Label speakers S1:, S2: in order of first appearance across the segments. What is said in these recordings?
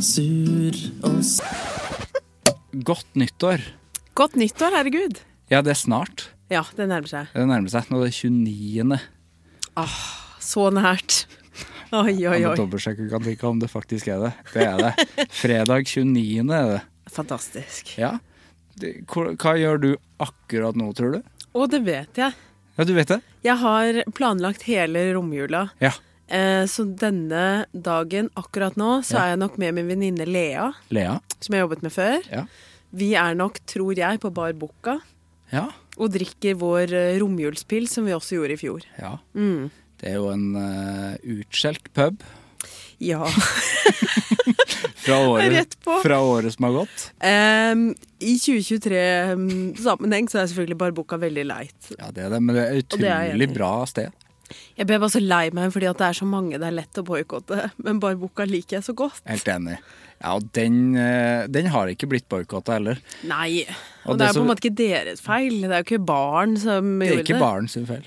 S1: Sur og s...
S2: Godt nyttår.
S3: Godt nyttår, herregud.
S2: Ja, det er snart.
S3: Ja, det nærmer seg.
S2: Det nærmer seg. Nå er det 29.
S3: Så nært. Oi, oi,
S2: Jeg må
S3: oi.
S2: dobbeltsjekke kan ikke om det faktisk er det. Det er det. Fredag 29. er det.
S3: Fantastisk.
S2: Ja. Det- hvor- Hva gjør du akkurat nå, tror du?
S3: Og det vet jeg.
S2: Ja, du vet det?
S3: Jeg har planlagt hele romjula.
S2: Ja.
S3: Eh, Så denne dagen akkurat nå, så er jeg nok med min venninne Lea,
S2: Lea?
S3: som jeg har jobbet med før.
S2: Ja.
S3: Vi er nok, tror jeg, på Bar Bukka
S2: Ja.
S3: og drikker vår eh, romjulspils, som vi også gjorde i fjor.
S2: Ja.
S3: Mm.
S2: Det er jo en eh, utskjelt pub
S3: Ja.
S2: fra året,
S3: Rett på.
S2: fra året som har gått.
S3: Em, I 2023-sammenheng så er selvfølgelig Bar Bukka veldig leit.
S2: Ja, det er det, men det er
S3: Og det er jeg
S2: utrolig
S3: enig i.
S2: bra sted.
S3: Jeg ble bare så lei meg fordi at det er så mange det er lett å boikotte, men Bar Bukka liker jeg så godt.
S2: Helt enig. Ja, og den, eh, den har ikke blitt boikotta heller.
S3: Nei. Og,
S2: Og
S3: det,
S2: det
S3: er på
S2: som-
S3: en måte ikke deres feil. Det er jo ikke barn som
S2: Det er
S3: gjorde
S2: ikke baren sin feil.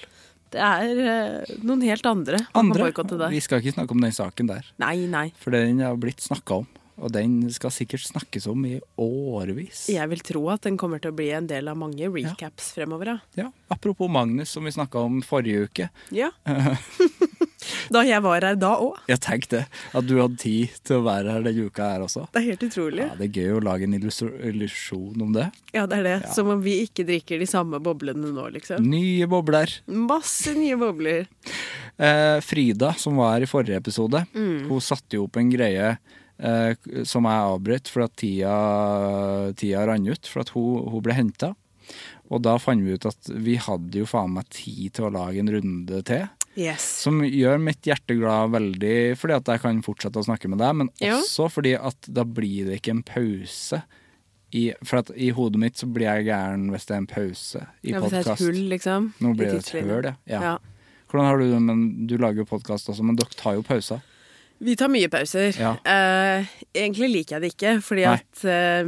S3: Det er eh, noen helt andre. som kan
S2: Andre.
S3: boykotte det.
S2: Vi skal ikke snakke om den saken der,
S3: Nei, nei.
S2: for den har blitt snakka om. Og den skal sikkert snakkes om i årevis.
S3: Jeg vil tro at den kommer til å bli en del av mange recaps fremover. Ja.
S2: Ja, Apropos Magnus, som vi snakka om forrige uke.
S3: Ja. da jeg var her da òg.
S2: Jeg tenkte at du hadde tid til å være her denne uka her også.
S3: Det er helt utrolig.
S2: Ja, Det er gøy å lage en illustr- illusjon om det.
S3: Ja, det er det. Som om vi ikke drikker de samme boblene nå, liksom.
S2: Nye bobler.
S3: Masse nye bobler.
S2: Eh, Frida, som var her i forrige episode,
S3: Mm.
S2: hun satte jo opp en greie eh, som jeg avbrøt for at tida, tida rann ut, for at hun, hun ble henta. Og da fant vi ut at vi hadde jo faen meg tid til å lage en runde til.
S3: Yes.
S2: Som gjør mitt hjerte glad veldig fordi at jeg kan fortsette å snakke med deg, men
S3: Ja.
S2: også fordi at da blir det ikke en pause. I, for at i hodet mitt så blir jeg gæren hvis det er en pause i
S3: Ja, hvis det er et
S2: podkast.
S3: hull, liksom.
S2: Nå
S3: i
S2: blir det et
S3: tidslinjen.
S2: høl, ja. ja.
S3: Ja.
S2: Hvordan har du det? Men du lager jo podkast også, men dere tar jo pauser.
S3: Vi tar mye pauser.
S2: Ja.
S3: Eh, egentlig liker jeg det ikke, fordi
S2: Nei.
S3: at eh,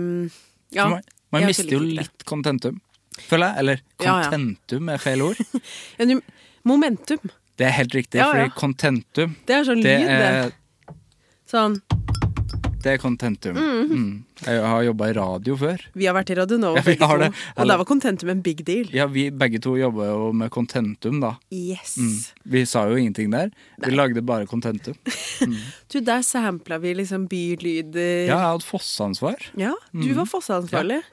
S3: ja,
S2: Så man man
S3: jeg
S2: mister jo
S3: liker ikke det.
S2: litt contentum, føler jeg. Eller
S3: Ja, ja.
S2: contentum er feil ord.
S3: Ja, nu- Momentum.
S2: Det er helt riktig,
S3: Ja, ja.
S2: fordi contentum,
S3: Det er sånn
S2: det
S3: lyd,
S2: er,
S3: det. Sånn
S2: det er contentum. Mm. Jeg har jobba i radio før.
S3: Vi har vært i Radio Nova,
S2: Ja, vi
S3: begge
S2: har
S3: to.
S2: det.
S3: Og da var Contentum en big deal.
S2: Ja, vi begge to jobba jo med contentum, da.
S3: Yes.
S2: Vi sa jo ingenting der. Vi lagde bare contentum.
S3: Du, der sampla vi liksom bylyder.
S2: Ja, Mm. jeg hadde fosseansvar.
S3: Ja, du var fosseansvarlig.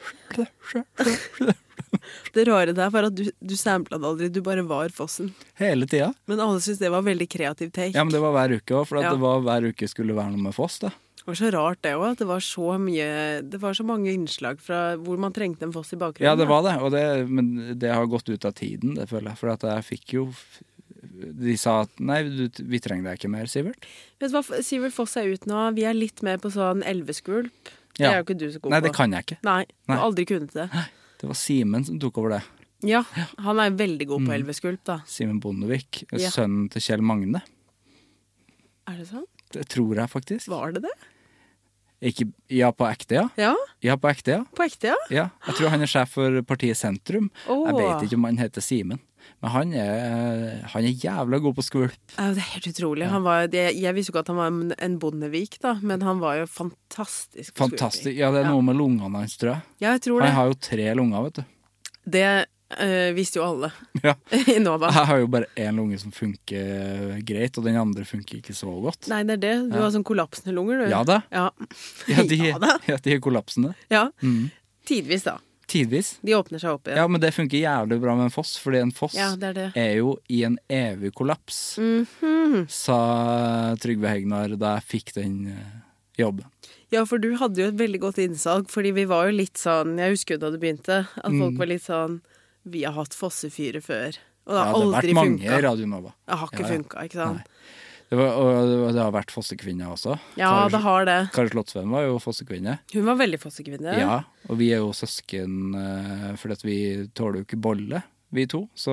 S3: Det rare der var at du, du sampla det aldri, du bare var fossen.
S2: Hele tida.
S3: Men alle syntes det var veldig kreativ take.
S2: Ja, men det var hver uke òg, for at
S3: Ja.
S2: det var hver uke skulle være noe med Foss, da.
S3: Det var så rart det òg, at det var så mye Det var så mange innslag fra hvor man trengte en foss i bakgrunnen.
S2: Ja, det var det, og det, men det har gått ut av tiden, det føler jeg. For at jeg fikk jo f- De sa at nei, du, vi trenger deg ikke mer, Sivert.
S3: Vet du hva Sivert Foss er ut nå? Vi er litt mer på sånn elveskvulp. Det
S2: Ja.
S3: er jo ikke du så god
S2: Nei,
S3: på.
S2: det kan jeg ikke.
S3: Nei, du har
S2: Nei.
S3: aldri kunnet det.
S2: Det var Simen som tok over det.
S3: Ja, han er veldig god
S2: Mm.
S3: på elveskvulp, da.
S2: Simen Bondevik.
S3: Ja.
S2: Sønnen til Kjell Magne.
S3: Er det sant?
S2: Det tror jeg faktisk.
S3: Var det det?
S2: Ikke, ja, på ekte, ja.
S3: Ja,
S2: Ja, på ekte, ja.
S3: på ekte, ja.
S2: Ja, jeg tror han er sjef for partiet Sentrum.
S3: Åh.
S2: Jeg vet ikke om han heter Simen. Men han er, han er jævla god på skvulp.
S3: Ja, Det er helt utrolig. Han var, det, jeg visste jo ikke at han var en- en Bondevik, da, men han var jo fantastisk. på
S2: Fantastisk.
S3: skuespill.
S2: Ja, det er noe med lungene hans, tror jeg.
S3: Ja, jeg tror det.
S2: Han har jo tre lunger, vet du.
S3: Det eh, visste jo alle
S2: Ja.
S3: i Nova.
S2: Jeg har jo bare én lunge som funker greit, og den andre funker ikke så godt.
S3: Nei, det er det. Du har sånn kollapsende lunger, du.
S2: Ja da.
S3: Ja,
S2: Ja, de,
S3: Ja da.
S2: ja, de er kollapsende.
S3: ja. Tidvis, da.
S2: Tidvis.
S3: De åpner seg opp igjen.
S2: Ja, men det funker jævlig bra med en foss, fordi en foss
S3: Ja, det er det.
S2: er jo i en evig kollaps,
S3: Mhm.
S2: sa Trygve Hegnar da jeg fikk den eh, jobben.
S3: Ja, for du hadde jo et veldig godt innsalg, fordi vi var jo litt sånn Jeg husker jo da du begynte, at
S2: Mm.
S3: folk var litt sånn Vi har hatt fossefyrer før. Og
S2: Ja,
S3: det har
S2: det har vært
S3: aldri
S2: mange
S3: funka.
S2: i Radio Nova.
S3: Det har ikke
S2: Ja, ja.
S3: funka, ikke sant?
S2: Det var, og det var- det har vært fossekvinner også.
S3: Ja,
S2: Kari-
S3: det har det.
S2: Kari Slottsveen var jo fossekvinne.
S3: Hun var veldig fossekvinne.
S2: Ja, og vi er jo søsken eh, fordi at vi tåler jo ikke bolle, vi to. Så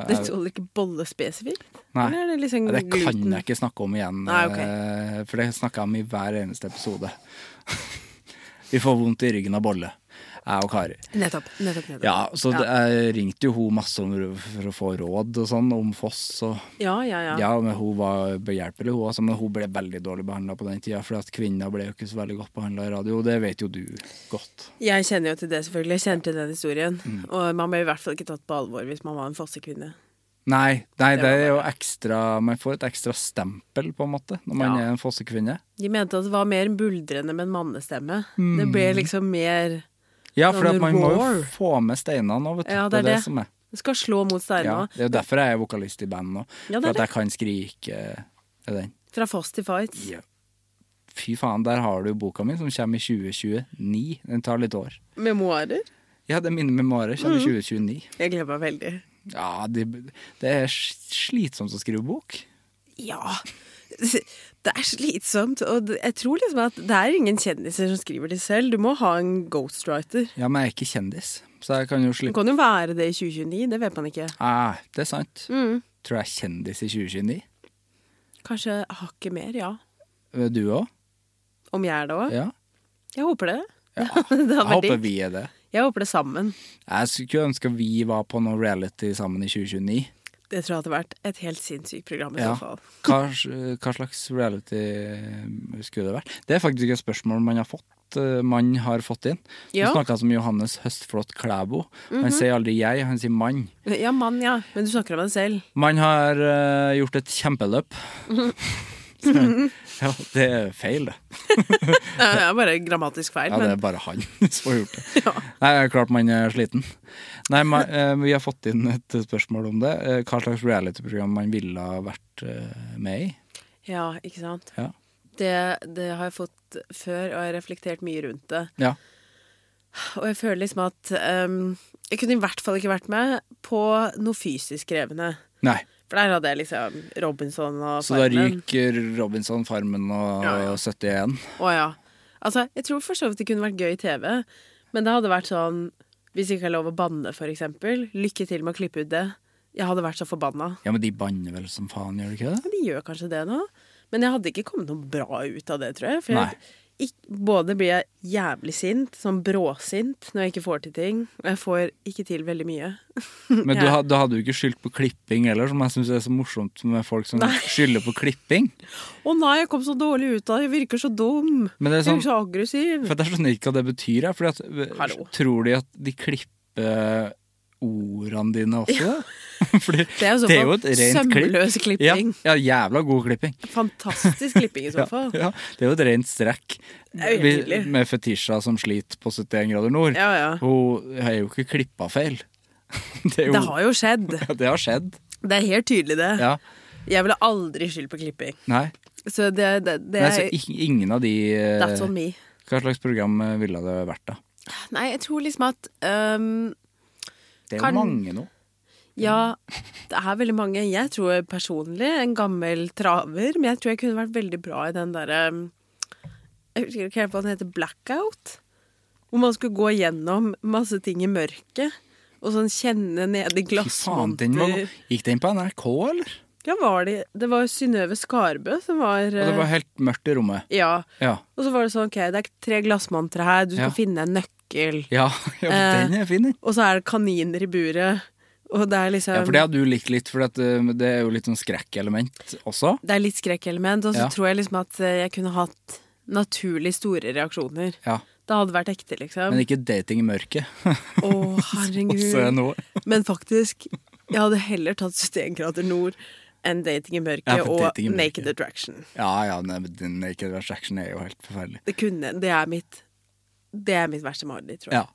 S2: eh,
S3: Det tåler ikke bolle spesifikt?
S2: Nei.
S3: Eller er det liksom
S2: Ja, det kan
S3: gluten?
S2: jeg ikke snakke om igjen,
S3: Nei, ok.
S2: eh, for det snakka jeg om i hver eneste episode. Vi får vondt i ryggen av bolle, jeg og Kari.
S3: Nettopp. nettopp, nettopp.
S2: Ja, så det- jeg ringte jo hun masse om, for å få råd og sånn om Foss. Og,
S3: Ja, ja, ja.
S2: ja. men hun var behjelpelig, hun også, men hun ble veldig dårlig behandla på den tida. For at kvinner ble jo ikke så veldig godt behandla i radio, det vet jo du godt.
S3: Jeg kjenner jo til det, selvfølgelig. Jeg kjenner til den historien.
S2: Mm.
S3: Og man ble i hvert fall ikke tatt på alvor hvis man var en fossekvinne.
S2: Nei, nei det
S3: Det var
S2: er jo ekstra Man får et ekstra stempel, på en måte, når man
S3: Ja.
S2: er en fossekvinne.
S3: De mente at det var mer buldrende med en mannestemme. Det ble
S2: Mm.
S3: liksom mer
S2: Ja, for
S3: Sånn
S2: at man må jo
S3: roar.
S2: få med steinene nå, vet du.
S3: Ja,
S2: det er det, som er.
S3: Du skal slå mot
S2: Ja,
S3: steinene.
S2: det er jo derfor jeg er vokalist i band nå.
S3: Ja, det er
S2: for at
S3: det.
S2: jeg kan skrike eh, den.
S3: Fra foss til fights.
S2: Fy faen, der har du boka mi som kommer i 2029. Den tar litt år.
S3: Memoarer.
S2: Ja, det er mine memoarer. Kommer
S3: Mm.
S2: i 2029.
S3: Jeg gleder meg veldig.
S2: Ja, det, det er slitsomt å skrive bok.
S3: Ja. Det er slitsomt, og det- jeg tror liksom at det er ingen kjendiser som skriver det selv. Du må ha en ghostwriter.
S2: Ja, men jeg er ikke kjendis, så jeg kan jo
S3: Du
S2: slippe
S3: kan jo være det i 2029, det vet man ikke.
S2: ah, Det er sant.
S3: Mm.
S2: Tror jeg er kjendis i 2029.
S3: Kanskje hakket mer, ja.
S2: Du òg?
S3: Om jeg er det òg?
S2: Ja.
S3: Jeg håper det.
S2: ja.
S3: Det
S2: Jeg
S3: hadde vært
S2: håper
S3: digg.
S2: vi er det.
S3: Jeg håper det sammen.
S2: Jeg skulle ønske vi var på noe reality sammen i 2029.
S3: Det tror jeg hadde vært et helt sinnssykt program i
S2: Ja.
S3: så fall.
S2: Hva, hva slags reality eh, skulle det vært? Det er faktisk et spørsmål man har fått. eh, Man har fått inn.
S3: Ja.
S2: Nå snakka jeg om Johannes Høstflot Klæbo. Han sier aldri 'jeg', han sier 'mann'.
S3: Ja, mann, ja. Men du snakker om deg selv.
S2: Man har eh, gjort et kjempeløp. Så- ja, det er feil, det.
S3: Det er bare grammatisk feil,
S2: Ja, det er
S3: men
S2: bare han som har gjort det. Nei, det er klart man er sliten. Nei, ma- eh, Vi har fått inn et spørsmål om det. Eh, Hva slags reality-program man ville ha vært eh, med i.
S3: Ja, ikke sant.
S2: Ja.
S3: Det, det har jeg fått før, og jeg har reflektert mye rundt det.
S2: ja.
S3: Og jeg føler liksom at ehm, Jeg kunne i hvert fall ikke vært med på noe fysisk krevende.
S2: Nei.
S3: For der hadde jeg liksom Robinson og
S2: Så da
S3: Farmen.
S2: ryker Robinson, Farmen og
S3: Ja, ja.
S2: 71.
S3: Å ja. Altså, jeg tror for så vidt det kunne vært gøy i TV, men det hadde vært sånn Hvis ikke er lov å banne, for eksempel. Lykke til med å klippe ut det. Jeg hadde vært så forbanna.
S2: Ja, men de banner vel som faen, gjør de ikke det?
S3: Ja, de gjør kanskje det nå. Men jeg hadde ikke kommet noe bra ut av det, tror jeg. For
S2: Nei.
S3: jeg ikk- både blir jeg jævlig sint, sånn bråsint, når jeg ikke får til ting. Og jeg får ikke til veldig mye.
S2: Men du,
S3: Ja.
S2: had- da hadde du ikke skyldt på klipping heller, som jeg syns er så morsomt med folk som skylder på klipping.
S3: Å nei, jeg kom så dårlig ut av det, jeg virker så dum.
S2: Men det er sånn-
S3: Jeg virker så aggressiv.
S2: For jeg skjønner ikke hva det betyr, jeg. For
S3: Hallo.
S2: tror de at de klipper ordene dine også? Fordi
S3: Det er jo så
S2: et
S3: fall
S2: rent klipp.
S3: sømløs
S2: Ja,
S3: klipping.
S2: ja, jævla god klipping.
S3: Fantastisk klipping i så fall.
S2: Ja, det er jo et rent strekk.
S3: Det er jo helt nydelig.
S2: med Fetisha som sliter på 71 grader nord.
S3: Ja, ja.
S2: Hun har jo ikke klippa feil. Det, er jo,
S3: Det har jo skjedd.
S2: Ja, det har skjedd.
S3: Det er helt tydelig, det.
S2: Ja.
S3: Jeg ville aldri skyldt på klipping.
S2: Nei,
S3: Så det, det, det
S2: Nei så
S3: er
S2: i- ingen av de eh,
S3: That's on me.
S2: Hva slags program eh, ville det vært, da?
S3: Nei, jeg tror liksom at øhm,
S2: Det er
S3: Kan-
S2: jo mange nå.
S3: Ja, det er veldig mange. Jeg tror personlig en gammel traver, men jeg tror jeg kunne vært veldig bra i den derre øhm, Jeg husker ikke helt hva den heter. Blackout. Hvor man skulle gå gjennom masse ting i mørket. Og sånn kjenne nede
S2: Fy faen, den var
S3: glassmonter.
S2: god. Gikk den på NRK, eller?
S3: Ja, var det Det var Synnøve Skarbø som var
S2: Og det
S3: øh,
S2: var helt mørkt i rommet.
S3: Ja.
S2: Ja.
S3: Og så var det sånn, OK, det er tre glassmontre her, du skal
S2: Ja.
S3: finne en nøkkel.
S2: Ja, ja
S3: Eh,
S2: den er fin, den.
S3: Og så er det kaniner i buret. Og det er liksom
S2: Ja, for det hadde du likt litt, for at, eh, det er jo litt sånn skrekkelement også.
S3: det er litt skrekkelement. Og så
S2: Ja.
S3: tror jeg liksom at eh, jeg kunne hatt naturlig store reaksjoner.
S2: Ja,
S3: Det hadde vært ekte, liksom.
S2: Men ikke dating i mørket.
S3: Å,
S2: Også
S3: herregud.
S2: nå.
S3: Men faktisk, jeg hadde heller tatt Stenkrater Nord enn Dating i mørket
S2: Ja, for
S3: og
S2: Dating i mørket.
S3: Naked Attraction.
S2: Ja, ja, nei, men den naked attraction er jo helt forferdelig.
S3: Det kunne Det er mitt Det er mitt verste mareritt, tror jeg.
S2: Ja,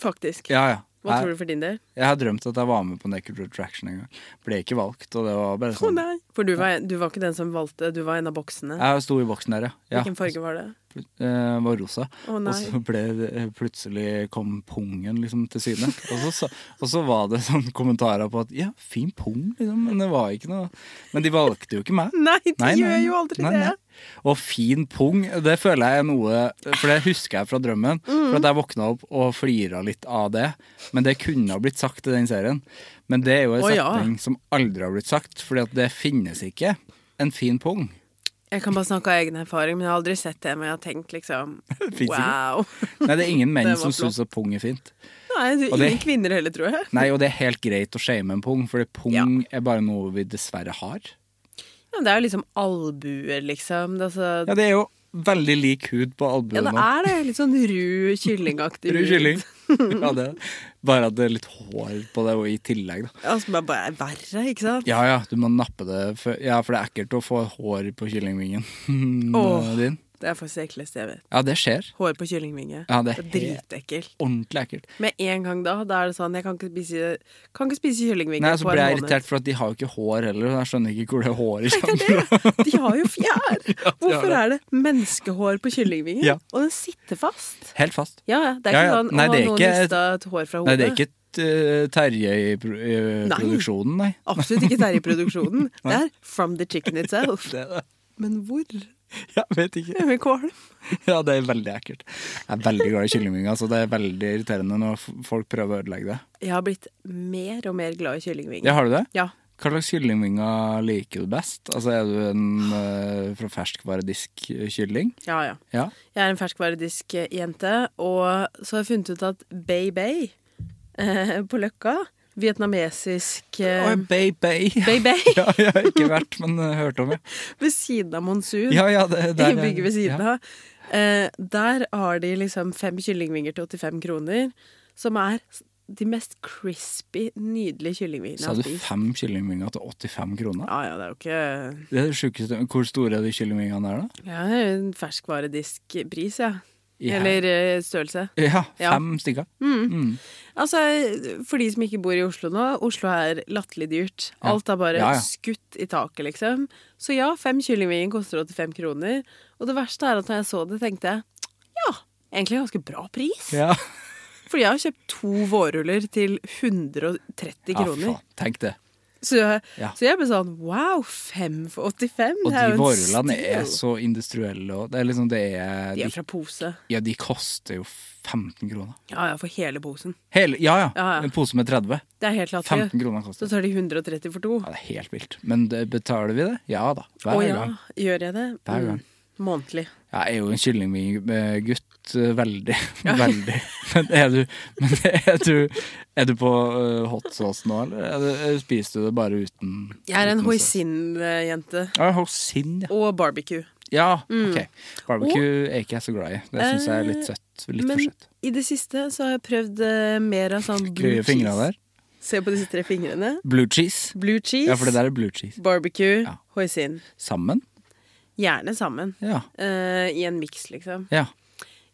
S3: Faktisk.
S2: ja. ja.
S3: Hva
S2: Jeg-
S3: tror du for din del?
S2: Jeg har drømt at jeg var med på Naked Attraction en gang. Ble ikke valgt, og det var bare
S3: Å
S2: sånn.
S3: nei! For du var, du var ikke den som valgte, du var en av boksene.
S2: Jeg sto i boksen der, ja. ja.
S3: Hvilken farge var det?
S2: Eh, var rosa.
S3: Å, nei.
S2: og så ble det, eh, plutselig kom pungen liksom til syne. Og så, sa- og så var det sånn kommentarer på at ja, fin pung, liksom. Men det var ikke noe Men de valgte jo ikke meg.
S3: Nei, de gjør jo aldri
S2: Nei,
S3: det!
S2: nei. Og fin pung, det føler jeg er noe For det husker jeg fra drømmen.
S3: Mm.
S2: For at jeg våkna opp og flira litt av det. Men det kunne ha blitt sagt i den serien. Men det er jo en
S3: Å, ja.
S2: setning som aldri har blitt sagt, fordi at det finnes ikke en fin pung.
S3: Jeg kan bare snakke av egen erfaring, men jeg har aldri sett det. Men jeg har tenkt liksom
S2: ikke.
S3: Wow.
S2: Nei, det er ingen menn
S3: Det var
S2: som syns at pung er fint.
S3: Nei, du,
S2: Og det-
S3: ingen kvinner heller, tror jeg.
S2: Nei, og det er helt greit å shame en pung, fordi pung
S3: Ja.
S2: er bare noe vi dessverre har.
S3: Ja, men det er jo liksom albuer, liksom. Det, er så-
S2: Ja, det er jo veldig lik hud på
S3: ja,
S2: albuen
S3: det
S2: nå.
S3: er det. Litt sånn ru kyllingaktig.
S2: Rød
S3: hud.
S2: kylling. Ja, det er. Bare at det er litt hår på det og i tillegg, da.
S3: Ja, som er Altså, bare er verre, ikke sant?
S2: Ja ja, du må nappe det før Ja, for det er ekkelt å få hår på kyllingvingen
S3: Åh.
S2: din.
S3: Det er faktisk det ekleste jeg vet.
S2: Ja, det skjer.
S3: Hår på kyllingvinge.
S2: Ja, det er
S3: det er dritekkelt.
S2: Ordentlig ekkelt.
S3: Med en gang da, da er det sånn Jeg kan ikke spise, kan ikke spise kyllingvinge
S2: Nei, så
S3: på en
S2: ble jeg
S3: måned.
S2: irritert, for at de har jo ikke hår heller. og Jeg skjønner ikke hvor det håret kommer fra.
S3: De har jo fjær! Hvorfor
S2: det.
S3: er det menneskehår på kyllingvinger?
S2: Ja.
S3: Og den sitter fast.
S2: Helt fast.
S3: Ja, ja. Det er
S2: Ja,
S3: ikke
S2: ja.
S3: sånn
S2: Nei,
S3: å,
S2: det er
S3: noen
S2: ikke-
S3: mista et hår fra hodet.
S2: Nei, det er ikke eh, Terje i, pro i eh,
S3: Nei.
S2: produksjonen, nei.
S3: Absolutt ikke der i produksjonen. Det er from the chicken itself. Men hvor?
S2: Jeg vet ikke.
S3: Jeg blir kvalm.
S2: Ja, det er veldig ekkelt. Jeg er veldig glad i kyllingvinger, så det er veldig irriterende når f- folk prøver å ødelegge det.
S3: Jeg har blitt mer og mer glad i kyllingvinger.
S2: Ja, har du det?
S3: Ja.
S2: Hva slags kyllingvinger liker du best? Altså, er du en eh, fra ferskvaredisk-kylling?
S3: ja, ja.
S2: Ja.
S3: Jeg er en ferskvaredisk eh, jente, og så har jeg funnet ut at Bay Bay eh, på Løkka Vietnamesisk eh,
S2: Oi, baby!
S3: Bay Bay
S2: Ja, jeg har ikke vært, men eh, hørt om det.
S3: ved siden av Monsun.
S2: Ja, ja, det,
S3: I
S2: der, er-
S3: bygget ved siden
S2: ja.
S3: av. Eh, der har de liksom fem kyllingvinger til 85 kroner, som er s- de mest crispy, nydelige kyllingvingene jeg
S2: Sa
S3: har
S2: du
S3: spist.
S2: fem kyllingvinger til 85 kroner?
S3: Ja, ja, det er jo ikke
S2: Det er det sjukeste. Hvor store er de kyllingvingene der, da?
S3: Ja, det er jo en ferskvarediskpris, ja.
S2: Ja.
S3: Eller eh, størrelse.
S2: Ja,
S3: Ja. Mm.
S2: fem stykker.
S3: Altså, for de som ikke bor i Oslo nå, Oslo er latterlig dyrt.
S2: Ja.
S3: Alt er bare
S2: Ja, ja.
S3: skutt i taket, liksom. Så ja, fem kyllingvinger koster 85 kroner. Og det verste er at når jeg så det, tenkte jeg ja, egentlig en ganske bra pris.
S2: Ja.
S3: Fordi jeg har kjøpt to vårruller til 130
S2: Ja,
S3: kroner.
S2: Ah, faen, tenk det.
S3: så, jeg,
S2: Ja.
S3: så jeg ble sånn wow, fem for 85?
S2: Og
S3: det er
S2: de
S3: jo en
S2: vårrullene er
S3: steal.
S2: så industrielle. Og det er liksom, det er,
S3: De er
S2: de,
S3: fra pose.
S2: ja, de koster jo 15 kroner.
S3: Ja ja, for hele posen.
S2: Hele, ja, ja,
S3: Ja, ja.
S2: En pose med 30.
S3: Det er helt latterlig.
S2: 15 kroner
S3: Så
S2: koster det.
S3: tar de 130 for to.
S2: Ja, det er helt vilt. Men det, betaler vi det? Ja da. Hver
S3: Å ja,
S2: gang.
S3: gjør jeg det?
S2: Hver gang.
S3: Mm. Månedlig.
S2: Ja, Jeg er jo en kyllinggutt. eh, Veldig. Veldig. Men er du, men er du, er du på eh, hot sauce nå, eller? Er du- er- Spiser du det bare uten
S3: Jeg er en
S2: uten saus?
S3: hoisin-jente.
S2: Ja, hoisin, ja.
S3: Og barbecue.
S2: ja
S3: Mm.
S2: ok. Barbecue er ikke jeg så glad i. Det syns jeg er litt søtt. Litt
S3: Eh, Men
S2: for søtt.
S3: i det siste så har jeg prøvd eh, mer av sånn blue
S2: Grøye fingre
S3: cheese.
S2: der.
S3: Se på disse tre fingrene.
S2: Blue cheese.
S3: Blue cheese,
S2: Ja, for det der er blue cheese.
S3: barbecue,
S2: Ja.
S3: hoisin.
S2: Sammen?
S3: Gjerne sammen.
S2: Ja.
S3: eh, I en miks, liksom.
S2: ja.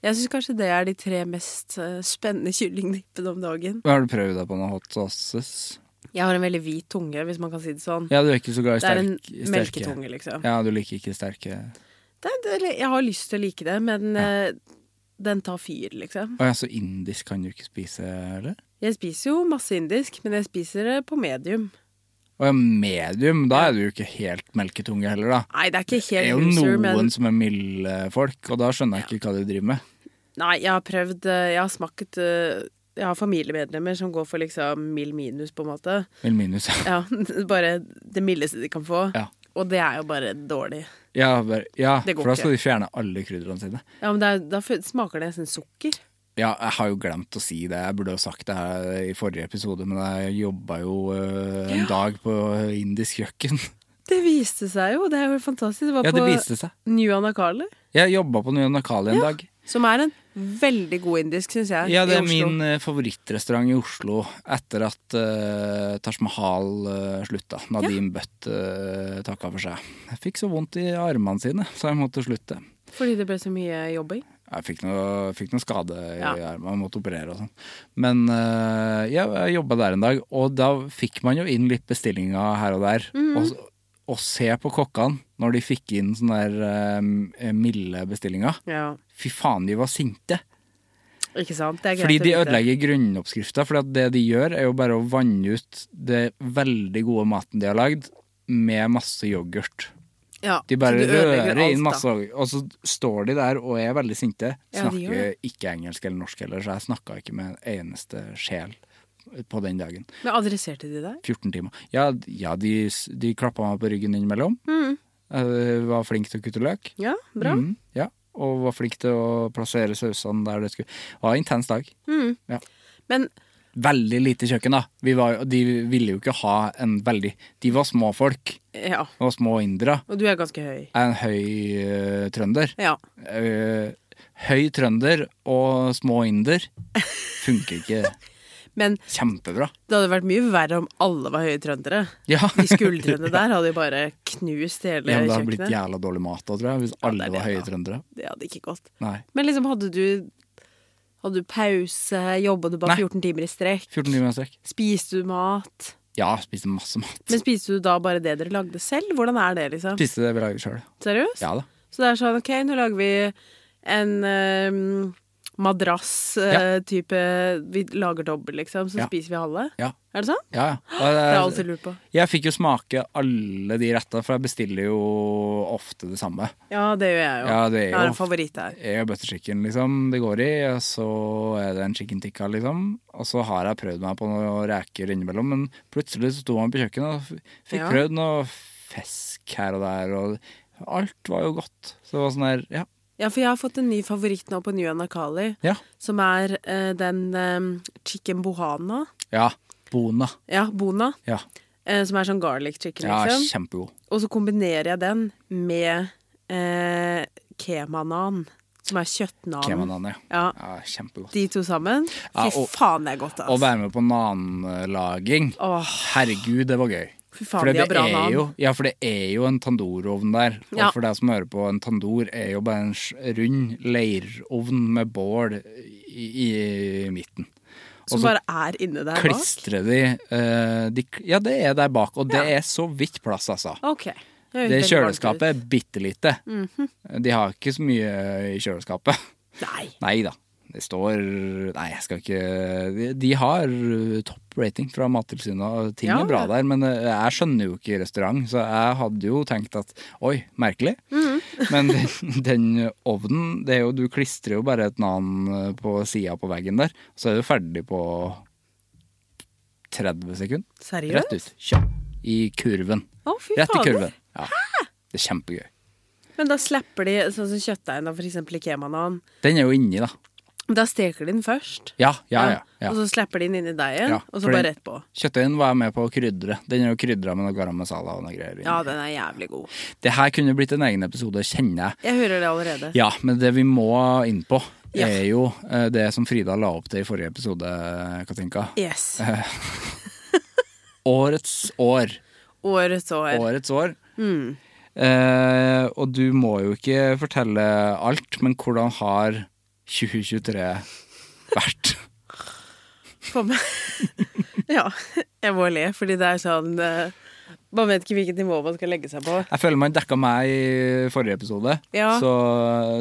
S3: Jeg syns kanskje det er de tre mest eh, spennende kyllingdippene om dagen.
S2: Har du prøvd deg på noe hot sauces?
S3: Jeg Jeg har en veldig hvit tunge, hvis man kan si det sånn.
S2: Ja, du er ikke så glad i
S3: det er
S2: sterk,
S3: en
S2: sterke
S3: melketunge, liksom.
S2: Ja, du liker ikke sterke Å
S3: Det er, det, jeg har lyst til å like det, men eh, den tar fyr, liksom.
S2: ja, så indisk kan du ikke spise, eller?
S3: Jeg spiser jo masse indisk, men jeg spiser det på medium.
S2: Å ja, medium, da er du jo ikke helt melketunge heller, da.
S3: Nei, det er ikke
S2: Det er
S3: helt
S2: jo
S3: loser,
S2: noen
S3: men
S2: som er milde folk, og da skjønner jeg ikke hva du driver med.
S3: Nei, jeg har prøvd eh, Jeg har smakt eh, Jeg har familiemedlemmer som går for liksom mild minus, på en måte.
S2: Mild minus.
S3: Ja, Bare det mildeste de kan få.
S2: Ja.
S3: Og det er jo bare dårlig.
S2: Ja, bare, ja
S3: Det går
S2: for da
S3: ikke.
S2: skal de fjerne alle krydderne sine.
S3: Ja, men det er, Da f- smaker det nesten sukker.
S2: Ja, jeg har jo glemt å si det. Jeg burde ha sagt det her i forrige episode, men jeg jobba jo øh, en dag på indisk kjøkken.
S3: Det viste seg jo. Det er jo fantastisk. Det var
S2: Ja, det
S3: på
S2: viste seg.
S3: New Anakali.
S2: Jeg jobba på Nye Nakali en dag.
S3: Som er en veldig god indisk, syns jeg.
S2: Ja, det
S3: i
S2: er
S3: Oslo.
S2: min eh, favorittrestaurant i Oslo etter at eh, Taj Mahal eh, slutta. Nadim Bøtt uh, takka for seg. Jeg fikk så vondt i armene sine, så jeg måtte slutte.
S3: Fordi det ble så mye jobbing.
S2: Jeg fikk noe, fikk noe skade i
S3: Ja.
S2: armen, jeg måtte operere og sånn. Men eh, ja, jeg jobba der en dag, og da fikk man jo inn litt bestillinger her og der.
S3: Mhm.
S2: Og, og se på kokkene når de fikk inn sånne der eh, milde bestillinger.
S3: Ja,
S2: Fy faen, de var sinte!
S3: ikke sant? Det er greit
S2: Fordi
S3: å
S2: de
S3: vite.
S2: ødelegger grunnoppskrifta. For det de gjør, er jo bare å vanne ut det veldig gode maten de har lagd, med masse yoghurt.
S3: Ja,
S2: De bare
S3: så du ødelegger
S2: rører
S3: alt,
S2: inn masse
S3: da.
S2: yoghurt, og så står de der og er veldig sinte.
S3: Ja,
S2: Snakker
S3: de gjør
S2: ikke engelsk eller norsk heller, så jeg snakka ikke med en eneste sjel på den dagen.
S3: Men adresserte de deg?
S2: 14 timer. Ja, ja de, s- de klappa meg på ryggen innimellom. Jeg var flink til å kutte løk.
S3: Ja, Mm. bra.
S2: Mm, ja. Og var flink til å plassere sausene der det skulle. Det var en intens dag. Ja.
S3: Men
S2: Veldig lite kjøkken, da. Vi var, jo- de ville jo ikke ha en veldig De var små folk.
S3: ja,
S2: De var små indere.
S3: og du er ganske høy.
S2: Jeg er en høy eh, trønder.
S3: Ja.
S2: Eh, høy trønder og små inder funker ikke
S3: Men
S2: kjempebra.
S3: det hadde vært mye verre om alle var høye trøndere.
S2: Ja.
S3: De skuldrene der hadde jo bare knust hele
S2: Ja, men det hadde blitt
S3: kjøkkenet.
S2: jævla dårlig mat da, tror jeg, hvis alle
S3: det er
S2: var høye
S3: det, da.
S2: trøndere.
S3: Det hadde ikke gått.
S2: Nei.
S3: Men liksom, hadde du Hadde du pause? Jobba du bare
S2: Nei.
S3: 14 timer i strekk?
S2: 14 timer i strekk.
S3: Spiste du mat?
S2: Ja, spiste masse mat.
S3: Men spiste du da bare det dere lagde selv? Hvordan er det, liksom?
S2: Spiste det vi lager sjøl.
S3: Seriøst?
S2: Ja da.
S3: Så det er sånn, ok, nå lager vi en ehm, madrass eh, type Vi lager dobbel, liksom, så
S2: Ja.
S3: spiser vi halve.
S2: Ja,
S3: Er det sånn?
S2: ja. ja. Og
S3: Det har jeg
S2: det-
S3: alltid lurt på.
S2: Jeg fikk jo smake alle de retta, for jeg bestiller jo ofte det samme.
S3: Ja, det gjør jeg jo.
S2: Ja, det er
S3: jeg
S2: jo
S3: har en
S2: ofte-
S3: favoritt her.
S2: Jeg har butter chicken, liksom, det går i, og så er det en chicken tikka, liksom. Og så har jeg prøvd meg på noen reker innimellom, men plutselig så sto man på kjøkkenet og f- fikk
S3: Ja.
S2: prøvd noe fisk her og der, og alt var jo godt. Så det var sånn der, ja.
S3: Ja, for jeg har fått en ny favoritt nå på New Anakali,
S2: Ja.
S3: som er eh, den ehm, chicken bohana.
S2: ja. Bona.
S3: Ja, bona.
S2: Ja.
S3: eh, som er sånn garlic chicken,
S2: ja,
S3: liksom.
S2: kjempegod.
S3: Og så kombinerer jeg den med eh, kemanan, som er kjøttnan.
S2: Kemanan, ja.
S3: Ja.
S2: ja. Kjempegodt.
S3: De to sammen. Fy
S2: Ja, og-
S3: faen, det er godt,
S2: Å
S3: ass.
S2: være med på nanlaging,
S3: Åh,
S2: herregud, det var gøy.
S3: fy
S2: For
S3: faen, de
S2: det,
S3: har bra
S2: er
S3: navn.
S2: jo, ja, for det er jo en tandorovn der. Og
S3: Ja.
S2: for deg som hører på, en tandor er jo bare en s- rund leirovn med bål i, i midten.
S3: Som bare er inne der bak.
S2: Klistrer de, eh, de k- Ja, det er der bak, og det er så vidt plass, altså.
S3: Ok. Det høres
S2: Det
S3: veldig
S2: kjøleskapet
S3: varmt Mhm.
S2: er bitte lite. De har ikke så mye i kjøleskapet.
S3: ut. Nei.
S2: Nei da. Det står Nei, jeg skal ikke De, de har uh, topp rating fra Mattilsynet, og ting
S3: Ja.
S2: er bra der. Men uh, jeg skjønner jo ikke restaurant, så jeg hadde jo tenkt at oi, merkelig.
S3: Mhm.
S2: men den, den ovnen, det er jo Du klistrer jo bare et navn eh, på sida på veggen der, så er du ferdig på 30 sekunder. Rett
S3: Seriøst?
S2: ut. Kjapp. I kurven.
S3: Å, fy
S2: Rett i
S3: fader.
S2: kurven. Ja. Det er kjempegøy.
S3: Men da slapper de sånn som kjøttdeigen av for eksempel i kemanan.
S2: Den er jo inni, da.
S3: Da steker de den først.
S2: Ja, ja, ja. ja.
S3: Og så slapper de den inn i deigen,
S2: Ja,
S3: og så
S2: for
S3: bare
S2: den-
S3: rett på.
S2: Kjøttdeigen var jeg med på å krydre. Den er jo krydra med noe garam masala og noe greier.
S3: Ja, den er jævlig god.
S2: Det her kunne blitt en egen episode, kjenner jeg.
S3: Jeg hører det allerede.
S2: Ja, men det vi må inn på,
S3: Ja.
S2: er jo eh, det som Frida la opp til i forrige episode, Katinka.
S3: Yes.
S2: Årets år.
S3: Årets år.
S2: Årets år.
S3: Mm.
S2: Eh, og du må jo ikke fortelle alt, men hvordan har 2023 vært?
S3: For meg. Ja, jeg må le, fordi det er sånn eh, Man vet ikke hvilket nivå man skal legge seg på.
S2: Jeg føler man dekka meg i forrige episode,
S3: Ja.
S2: så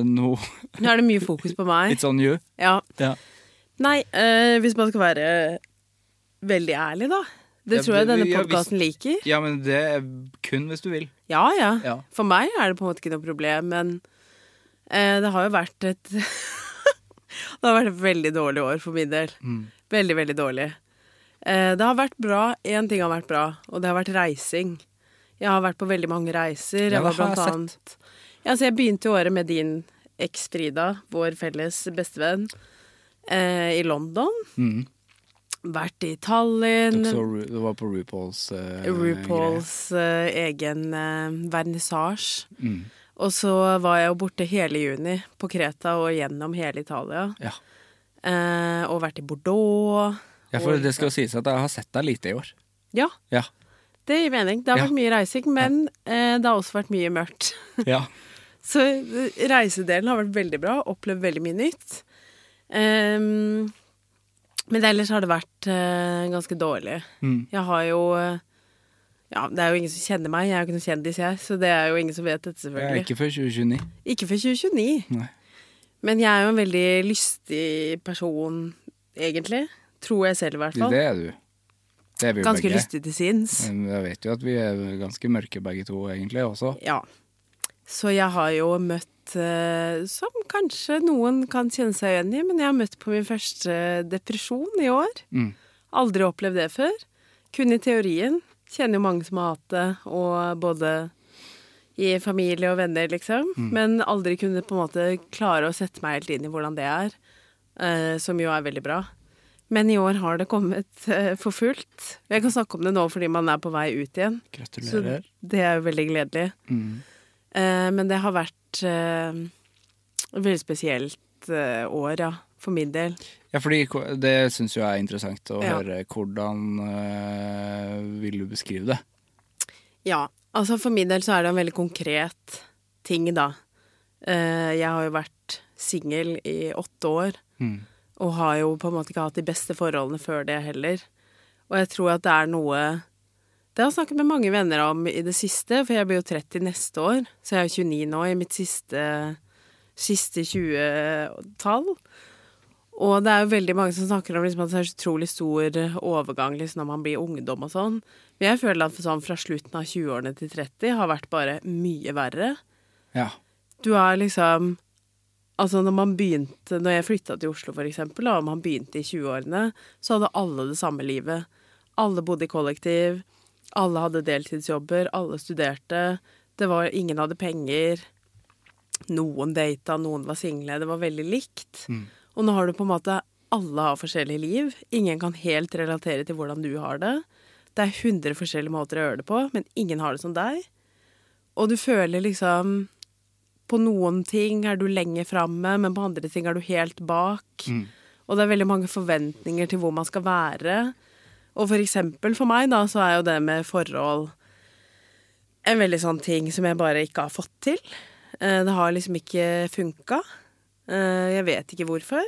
S2: nå
S3: Nå er det mye fokus på meg.
S2: It's on you.
S3: Ja.
S2: Ja.
S3: Nei, eh, hvis man skal være veldig ærlig, da. Det
S2: Ja,
S3: tror jeg
S2: det-
S3: denne
S2: ja, hvis-
S3: podkasten liker.
S2: ja, men det er kun hvis du vil.
S3: Ja, ja
S2: Ja.
S3: For meg er det på en måte ikke noe problem, men eh, det har jo vært et Det har vært et veldig dårlig år for min del.
S2: Mm.
S3: Veldig, veldig dårlig. Eh, det har vært bra. Én ting har vært bra, og det har vært reising. Jeg har vært på veldig mange reiser.
S2: Ja,
S3: Jeg var
S2: det har jeg
S3: blant annet ja, så Jeg begynte jo året med din eks Frida, vår felles bestevenn, eh, i London. Vært i Tallinn.
S2: Mm. Så Ru- det var på RuPauls eh, greie.
S3: eh, RuPauls eh, egen uh, vernissasje.
S2: Mm.
S3: Og så var jeg jo borte hele juni på Kreta og gjennom hele Italia.
S2: Ja.
S3: Eh, og vært i Bordeaux.
S2: ja, for det skal sies at jeg har sett deg lite i år.
S3: Ja,
S2: Ja.
S3: det gir mening. Det har
S2: Ja.
S3: vært mye reising, men eh, det har også vært mye mørkt.
S2: ja.
S3: Så eh, reisedelen har vært veldig bra, opplevd veldig mye nytt. Ehm, men ellers har det vært eh, ganske dårlig.
S2: Mm.
S3: Jeg har jo eh, Ja, det er jo ingen som kjenner meg. Jeg er jo ikke noen kjendis, jeg, så det er jo ingen som vet dette,
S2: Jeg er
S3: selvfølgelig.
S2: ikke før 2029.
S3: Ikke før 2029.
S2: Nei.
S3: Men jeg er jo en veldig lystig person, egentlig. Tror jeg selv, i hvert fall.
S2: Det er du. Det er vi jo
S3: Ganske
S2: begge.
S3: lystig til sinns.
S2: Men jeg vet jo at vi er ganske mørke begge to, egentlig, også.
S3: Ja. Så jeg har jo møtt, eh, som kanskje noen kan kjenne seg igjen i, men jeg har møtt på min første depresjon i år.
S2: Mm.
S3: Aldri opplevd det før. Kun i teorien. Kjenner jo mange som har hatt det, og både i familie og venner, liksom. Men aldri kunne på en måte klare å sette meg helt inn i hvordan det er, eh, som jo er veldig bra. Men i år har det kommet eh, for fullt. Jeg kan snakke om det nå fordi man er på vei ut igjen. Så
S2: Gratulerer.
S3: det er jo veldig gledelig. Eh, men det har vært eh, et veldig spesielt eh, år, ja. For min del.
S2: Ja, fordi ko- det syns jo jeg er interessant å
S3: Ja.
S2: høre. Hvordan eh, vil du beskrive det?
S3: Ja. Altså, for min del så er det en veldig konkret ting, da. Eh, jeg har jo vært singel i åtte år. Og har jo på en måte ikke hatt de beste forholdene før det heller. Og jeg tror at det er noe Det har jeg snakket med mange venner om i det siste, for jeg blir jo 30 neste år. Så jeg er jo 29 nå, i mitt siste, siste 20-tall. Og det er jo veldig mange som snakker om liksom at det er så utrolig stor overgang liksom når man blir ungdom og sånn. Men jeg føler at sånn fra slutten av 20-årene til 30 har vært bare mye verre.
S2: Ja.
S3: Du er liksom Altså, når man begynte Når jeg flytta til Oslo, for eksempel, da, og man begynte i 20-årene, så hadde alle det samme livet. Alle bodde i kollektiv. Alle hadde deltidsjobber. Alle studerte. Det var Ingen hadde penger. Noen data, noen var single. Det var veldig likt. Og nå har du på en måte Alle har forskjellige liv. Ingen kan helt relatere til hvordan du har det. Det er 100 forskjellige måter å gjøre det på, men ingen har det som deg. Og du føler liksom på noen ting er du lenge framme, men på andre ting er du helt bak. Og det er veldig mange forventninger til hvor man skal være. Og for eksempel for meg, da, så er jo det med forhold en veldig sånn ting som jeg bare ikke har fått til. Eh, Det har liksom ikke funka. Eh, Jeg vet ikke hvorfor.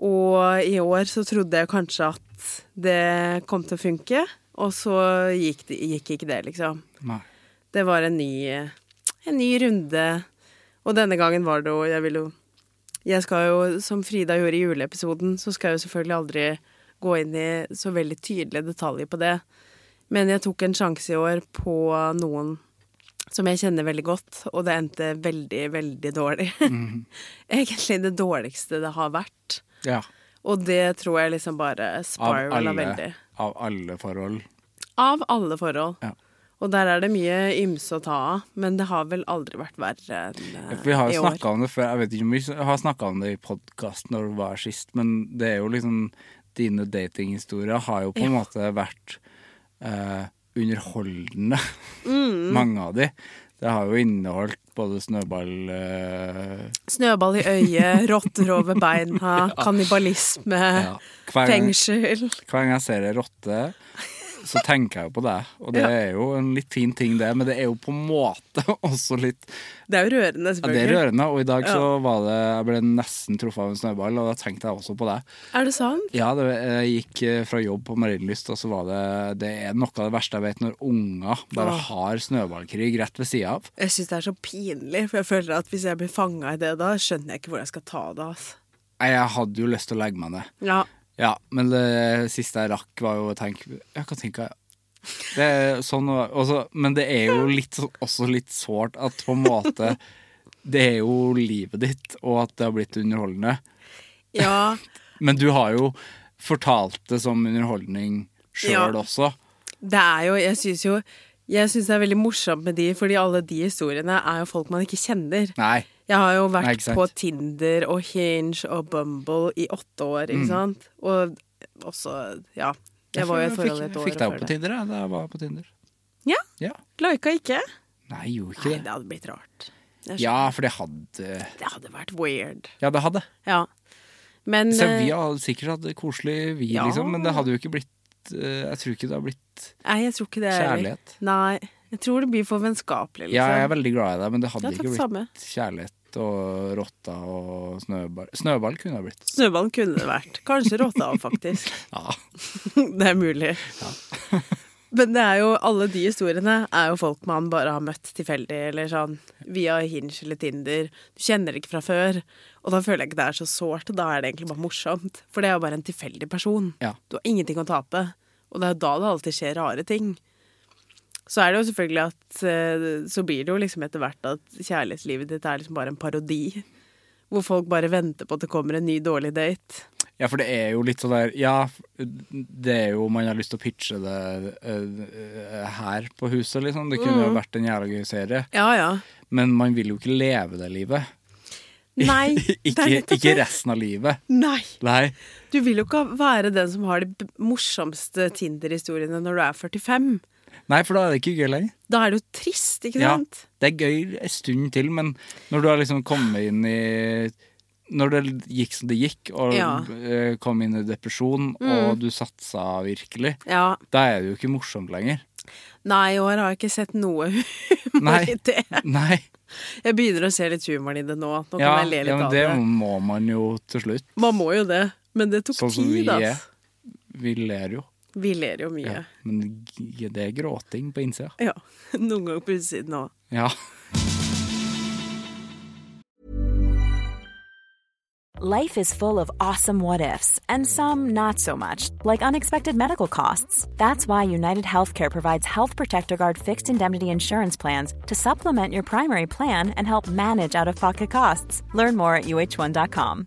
S3: Og i år så trodde jeg kanskje at det kom til å funke, og så gikk, det, gikk ikke det, liksom.
S2: Nei.
S3: Det var en ny, en ny runde. Og denne gangen var det jo Jeg vil jo Jeg skal jo, som Frida gjorde i juleepisoden, så skal jeg jo selvfølgelig aldri gå inn i så veldig tydelige detaljer på det. Men jeg tok en sjanse i år på noen som jeg kjenner veldig godt, og det endte veldig, veldig dårlig.
S2: Mhm.
S3: Egentlig det dårligste det har vært.
S2: Ja.
S3: Og det tror jeg liksom bare
S2: Av
S3: spirala
S2: alle,
S3: veldig.
S2: av alle forhold.
S3: Av alle forhold.
S2: Ja.
S3: Og der er det mye ymse å ta av, men det har vel aldri vært verre enn eh,
S2: Vi har
S3: i
S2: jo
S3: år.
S2: snakka om det før, jeg vet ikke om vi har snakka om det i podkast når det var sist, men det er jo liksom Dine datinghistorier har jo på en måte vært eh, underholdende,
S3: Mm.
S2: mange av de. Det har jo inneholdt både snøball eh,
S3: Snøball i øyet, rotter over beina, kannibalisme,
S2: ja. hver, gang,
S3: fengsel.
S2: hver gang jeg ser ei rotte, så tenker jeg jo på deg. Og det er jo en litt fin ting, det, men det er jo på en måte også litt
S3: Det er jo rørende,
S2: ja, Det
S3: selvfølgelig.
S2: er rørende. Og i dag så var det Jeg ble nesten truffet av en snøball, og da tenkte jeg også på deg.
S3: Er det sant?
S2: Ja, det, jeg gikk eh, fra jobb på Marienlyst, og så var det Det er noe av det verste jeg vet, når unger bare
S3: Åh.
S2: har snøballkrig rett ved sida av.
S3: Jeg syns det er så pinlig, for jeg føler at hvis jeg blir fanga i det da, skjønner jeg ikke hvor jeg skal ta det, altså.
S2: Nei, Jeg hadde jo lyst til å legge meg ned.
S3: Ja.
S2: Ja, men det siste jeg rakk var jo å tenke Ja, hva tenker jeg? Det er sånn, og- og så- men det er jo litt, så- også litt sårt at på en måte Det er jo livet ditt, og at det har blitt underholdende.
S3: ja.
S2: Men du har jo fortalt det som underholdning sjøl
S3: Ja.
S2: også.
S3: Det er jo Jeg syns jo jeg synes det er veldig morsomt med de, fordi alle de historiene er jo folk man ikke kjenner.
S2: Nei.
S3: Jeg har jo
S2: Nei,
S3: vært
S2: ikke sant.
S3: på Tinder og Hinge og Bumble i åtte år,
S2: Mm.
S3: ikke sant? Og også Ja. Jeg var jo i et forhold i et
S2: fikk,
S3: år.
S2: fikk deg opp
S3: før
S2: på Tinder jeg, da jeg var på Tinder.
S3: Ja.
S2: Ja.
S3: Lika ikke?
S2: Nei, gjorde
S3: Nei,
S2: ikke
S3: det
S2: det.
S3: hadde blitt rart. Jeg skjønner.
S2: Ja, for det hadde
S3: Det hadde vært weird.
S2: Ja, det hadde.
S3: Ja. Men
S2: Så vi
S3: eh,
S2: hadde sikkert hatt det koselig, vi,
S3: Ja.
S2: liksom, men det hadde jo ikke blitt eh, Jeg tror ikke det har blitt
S3: Nei, jeg tror ikke det. heller.
S2: Kjærlighet.
S3: Nei. Jeg tror det blir for vennskapelig, liksom.
S2: Ja, jeg er veldig glad i deg, men det hadde
S3: Ja, takk,
S2: ikke blitt
S3: samme.
S2: kjærlighet og rotta og snøball. Snøball kunne det ha blitt.
S3: Snøballen kunne det vært. Kanskje rotta, faktisk.
S2: Ja.
S3: Det er mulig. Men det er jo, alle de historiene er jo folk man bare har møtt tilfeldig, eller sånn via Hinge eller Tinder. Du kjenner det ikke fra før, og da føler jeg ikke det er så sårt. Da er det egentlig bare morsomt, for det er jo bare en tilfeldig person.
S2: Ja.
S3: Du har ingenting å tape, og det er jo da det alltid skjer rare ting. Så er det jo selvfølgelig at eh, Så blir det jo liksom etter hvert at kjærlighetslivet ditt er liksom bare en parodi. Hvor folk bare venter på at det kommer en ny dårlig date.
S2: ja, for det er jo litt sånn der Ja, det er jo Man har lyst til å pitche det eh, eh, her på huset, liksom. Det kunne
S3: Mm.
S2: jo vært en jævla gøy serie,
S3: Ja, ja.
S2: men man vil jo ikke leve det livet.
S3: Nei, det
S2: ikke,
S3: er nettopp
S2: ikke
S3: det.
S2: resten av livet.
S3: Nei.
S2: Nei.
S3: Du vil jo ikke være den som har de b- morsomste Tinder-historiene når du er 45.
S2: Nei, for da er det ikke gøy lenger.
S3: Da er det jo trist, ikke
S2: Ja,
S3: sant?
S2: det er gøy en stund til, men når du har liksom kommet inn i Når det gikk som det gikk, og
S3: Ja. Mm.
S2: eh, kom inn i depresjon, og du satsa virkelig,
S3: Ja.
S2: da er det jo ikke morsomt lenger.
S3: Nei, i år har jeg ikke sett noe humor
S2: Nei.
S3: i det.
S2: Nei.
S3: Jeg begynner å se litt humoren i det nå. Nå kan
S2: Ja,
S3: jeg le litt
S2: ja, men
S3: av
S2: det
S3: det.
S2: må man jo til slutt.
S3: Man må jo det. Men det tok
S2: Sånn som vi
S3: tid,
S2: er.
S3: altså.
S2: Vi ler jo.
S3: Vi ler jo mye.
S2: Ja. Men g- det er gråting på innsida.
S3: Ja. Noen ganger på utsiden òg.
S2: Ja.
S1: Life is full of awesome what ifs, and some not so much, like unexpected medical costs. That's why United Healthcare provides Health Protector Guard fixed indemnity insurance plans to supplement your primary plan and help manage out of pocket costs. Learn more at uh1.com.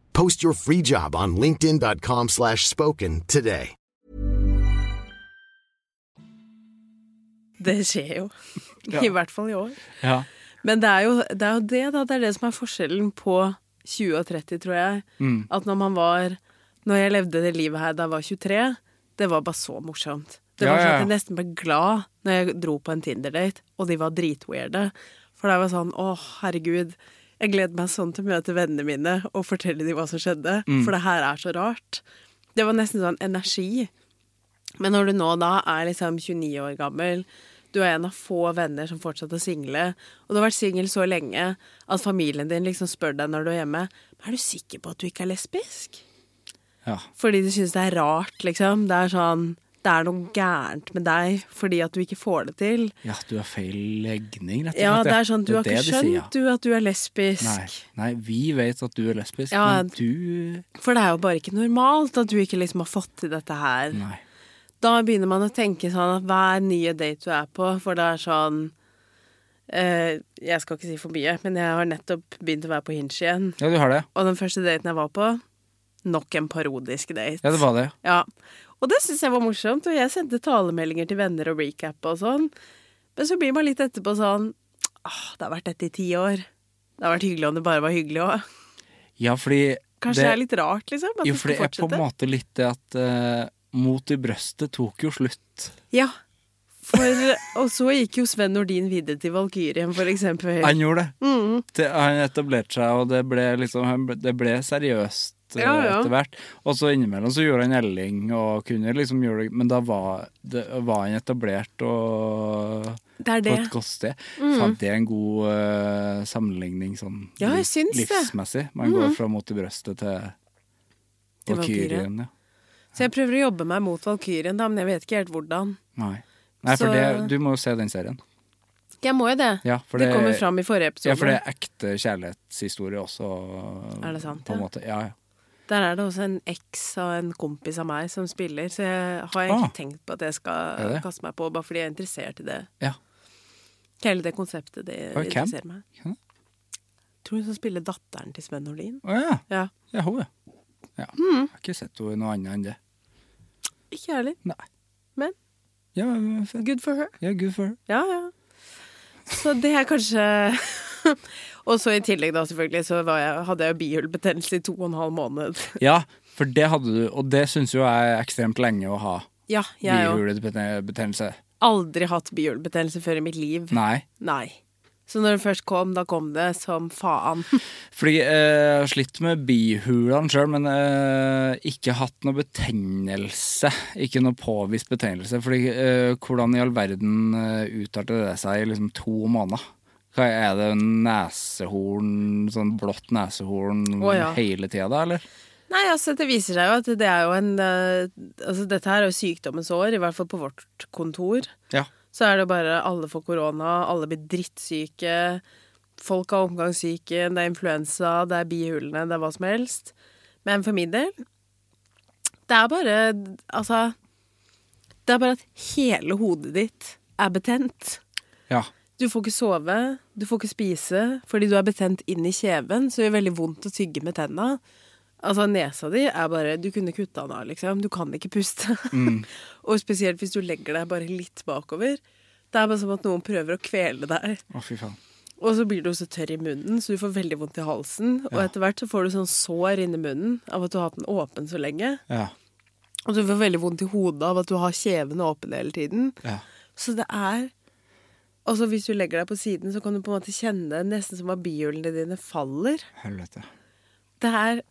S4: Post your free job on linkedin.com/spoken slash spoken today.
S3: Det skjer jo.
S2: Ja.
S3: I hvert fall i år.
S2: ja.
S3: Men det er, jo, det er jo det, da. Det er det som er forskjellen på 20 og 30, tror jeg.
S2: Mm.
S3: At når man var Når jeg levde det livet her da jeg var 23, det var bare så morsomt. Det
S2: Ja,
S3: var sånn
S2: ja,
S3: at
S2: ja.
S3: jeg nesten ble glad når jeg dro på en Tinder-date, og de var dritweirde. For da var jeg sånn Å, herregud. Jeg gleder meg sånn til å møte vennene mine og fortelle dem hva som skjedde.
S2: Mm.
S3: For det her er så rart. Det var nesten sånn energi. Men når du nå da er liksom 29 år gammel, du er en av få venner som fortsatt er single, og du har vært singel så lenge at familien din liksom spør deg når du er hjemme Er du sikker på at du ikke er lesbisk?
S2: ja.
S3: Fordi de syns det er rart, liksom. Det er sånn Det er noe gærent med deg fordi at du ikke får det til.
S2: Ja, du har feil legning, rett og slett.
S3: Ja, det er sånn Du har
S2: det
S3: ikke
S2: de sier, ja.
S3: skjønt, du, at du er lesbisk.
S2: Nei, nei, vi vet at du er lesbisk,
S3: Ja.
S2: men du
S3: For det er jo bare ikke normalt at du ikke liksom har fått til dette her.
S2: Nei.
S3: da begynner man å tenke sånn at hver nye date du er på, for det er sånn eh, Jeg skal ikke si for mye, men jeg har nettopp begynt å være på Hinge igjen.
S2: Ja, du har det.
S3: Og den første daten jeg var på, nok en parodisk date.
S2: Ja, det var det.
S3: Ja. Og det syns jeg var morsomt, og jeg sendte talemeldinger til venner og recap og sånn. Men så blir man litt etterpå sånn Åh, det har vært dette i ti år. Det har vært hyggelig om det bare var hyggelig òg.
S2: Ja, fordi
S3: Kanskje det, er litt rart, liksom? At
S2: jo,
S3: det
S2: for det er
S3: skal
S2: på
S3: fortsette.
S2: en måte litt det at eh, Mot i brøstet tok jo slutt.
S3: Ja. For, og så gikk jo Sven Nordin videre til Valkyrien, for eksempel.
S2: Han gjorde det.
S3: Mm.
S2: det. Han etablerte seg, og det ble, liksom, han ble- det ble seriøst eh,
S3: Ja, ja.
S2: etter hvert. Og så innimellom så gjorde han elling, og kunne liksom gjøre det, men da var, det, var han etablert og
S3: Det
S2: på
S3: er det. Mm.
S2: et godt sted. Faen, det er en god eh, sammenligning sånn
S3: Ja, jeg
S2: liv-
S3: syns det. Mm.
S2: livsmessig. Man går fra mot i brøstet til
S3: Til
S2: Valkyrien. Ja.
S3: Så jeg prøver å jobbe meg mot Valkyrien, da, men jeg vet ikke helt hvordan.
S2: Nei. Nei, for
S3: Så-
S2: det, du må jo se den serien.
S3: Jeg må jo det.
S2: Ja, for
S3: det,
S2: det-
S3: kommer fram i forrige episode.
S2: Ja, for det er ekte kjærlighetshistorie også.
S3: Er det sant,
S2: På en
S3: ja?
S2: måte. Ja, ja.
S3: Der er det også en eks av en kompis av meg som spiller, så jeg har egentlig
S2: Ah.
S3: tenkt på at jeg
S2: Er
S3: skal
S2: det?
S3: kaste meg på, bare fordi jeg er interessert i det.
S2: ja.
S3: Hele det konseptet det
S2: Oi, hvem?
S3: interesserer meg.
S2: Hvem?
S3: Tror hun som spiller datteren til Sven Nordin.
S2: Å ja.
S3: Ja.
S2: Ja, hun, ja. ja.
S3: Mm.
S2: Jeg har ikke sett henne i noe annet enn det.
S3: Ikke ærlig,
S2: Nei.
S3: men
S2: Ja, fett.
S3: good for her.
S2: Ja, good for her.
S3: Ja, ja. Så det er kanskje Og så i tillegg, da, selvfølgelig, så var jeg, hadde jeg jo bihulebetennelse i to og en halv måned.
S2: Ja, for det hadde du, og det syns jo jeg er ekstremt lenge å ha.
S3: Ja, jeg òg.
S2: Bihulebetennelse.
S3: Aldri hatt bihulebetennelse før i mitt liv.
S2: Nei.
S3: Nei. Så når det først kom, da kom det som faen.
S2: Fordi eh, jeg har slitt med bihulene sjøl, men eh, ikke hatt noe betennelse. Ikke noe påvist betennelse. Fordi eh, hvordan i all verden eh, utarter det seg i liksom to måneder? Hva Er det nesehorn, sånn blått nesehorn
S3: Å, ja.
S2: hele tida da, eller?
S3: Nei, altså det viser seg jo at det er jo en eh, Altså dette her er jo sykdommens år, i hvert fall på vårt kontor.
S2: Ja.
S3: Så er det jo bare alle får korona, alle blir drittsyke. Folk har omgangssyke, det er influensa, det er bihulene, det er hva som helst. Men for min del Det er bare Altså Det er bare at hele hodet ditt er betent.
S2: ja.
S3: Du får ikke sove, du får ikke spise, fordi du er betent inn i kjeven, så det gjør veldig vondt å tygge med tenna. Altså, nesa di er bare Du kunne kutta den av, liksom. Du kan ikke puste. og spesielt hvis du legger deg bare litt bakover. Det er bare som at noen prøver å kvele deg.
S2: Å, fy faen.
S3: Og så blir du også tørr i munnen, så du får veldig vondt i halsen. Og etter hvert så får du sånn sår inni munnen av at du har hatt den åpen så lenge.
S2: Ja.
S3: Og du får veldig vondt i hodet av at du har kjeven åpen hele tiden.
S2: ja.
S3: Så det er Altså Hvis du legger deg på siden, så kan du på en måte kjenne nesten som at bihulene dine faller.
S2: Helvete.
S3: Det er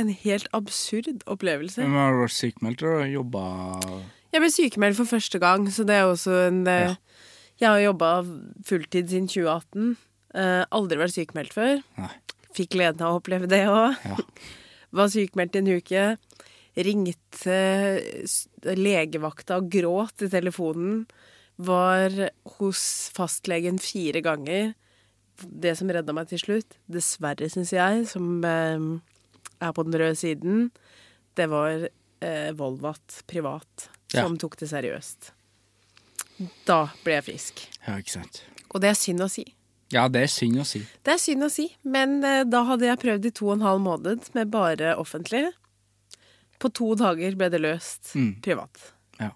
S3: en helt absurd opplevelse.
S2: Men har du vært sykmeldt og jobba
S3: Jeg ble sykemeldt for første gang, så det er jo også en eh, Jeg har jobba fulltid siden 2018. Eh, aldri vært sykemeldt før.
S2: Nei.
S3: Fikk gleden av å oppleve det òg.
S2: Ja.
S3: Var sykemeldt i en uke. Ringte s- legevakta og gråt i telefonen. Var hos fastlegen fire ganger. Det som redda meg til slutt, dessverre, syns jeg, som eh, er på den røde siden, det var eh, Volvat privat
S2: Ja.
S3: som tok det seriøst. Da ble jeg frisk.
S2: Ja, ikke sant.
S3: Og det er synd å si.
S2: Ja, det er synd å si.
S3: Det er synd å si, men eh, da hadde jeg prøvd i to og en halv måned med bare offentlig. På to dager ble det løst
S2: Mm.
S3: privat.
S2: Ja.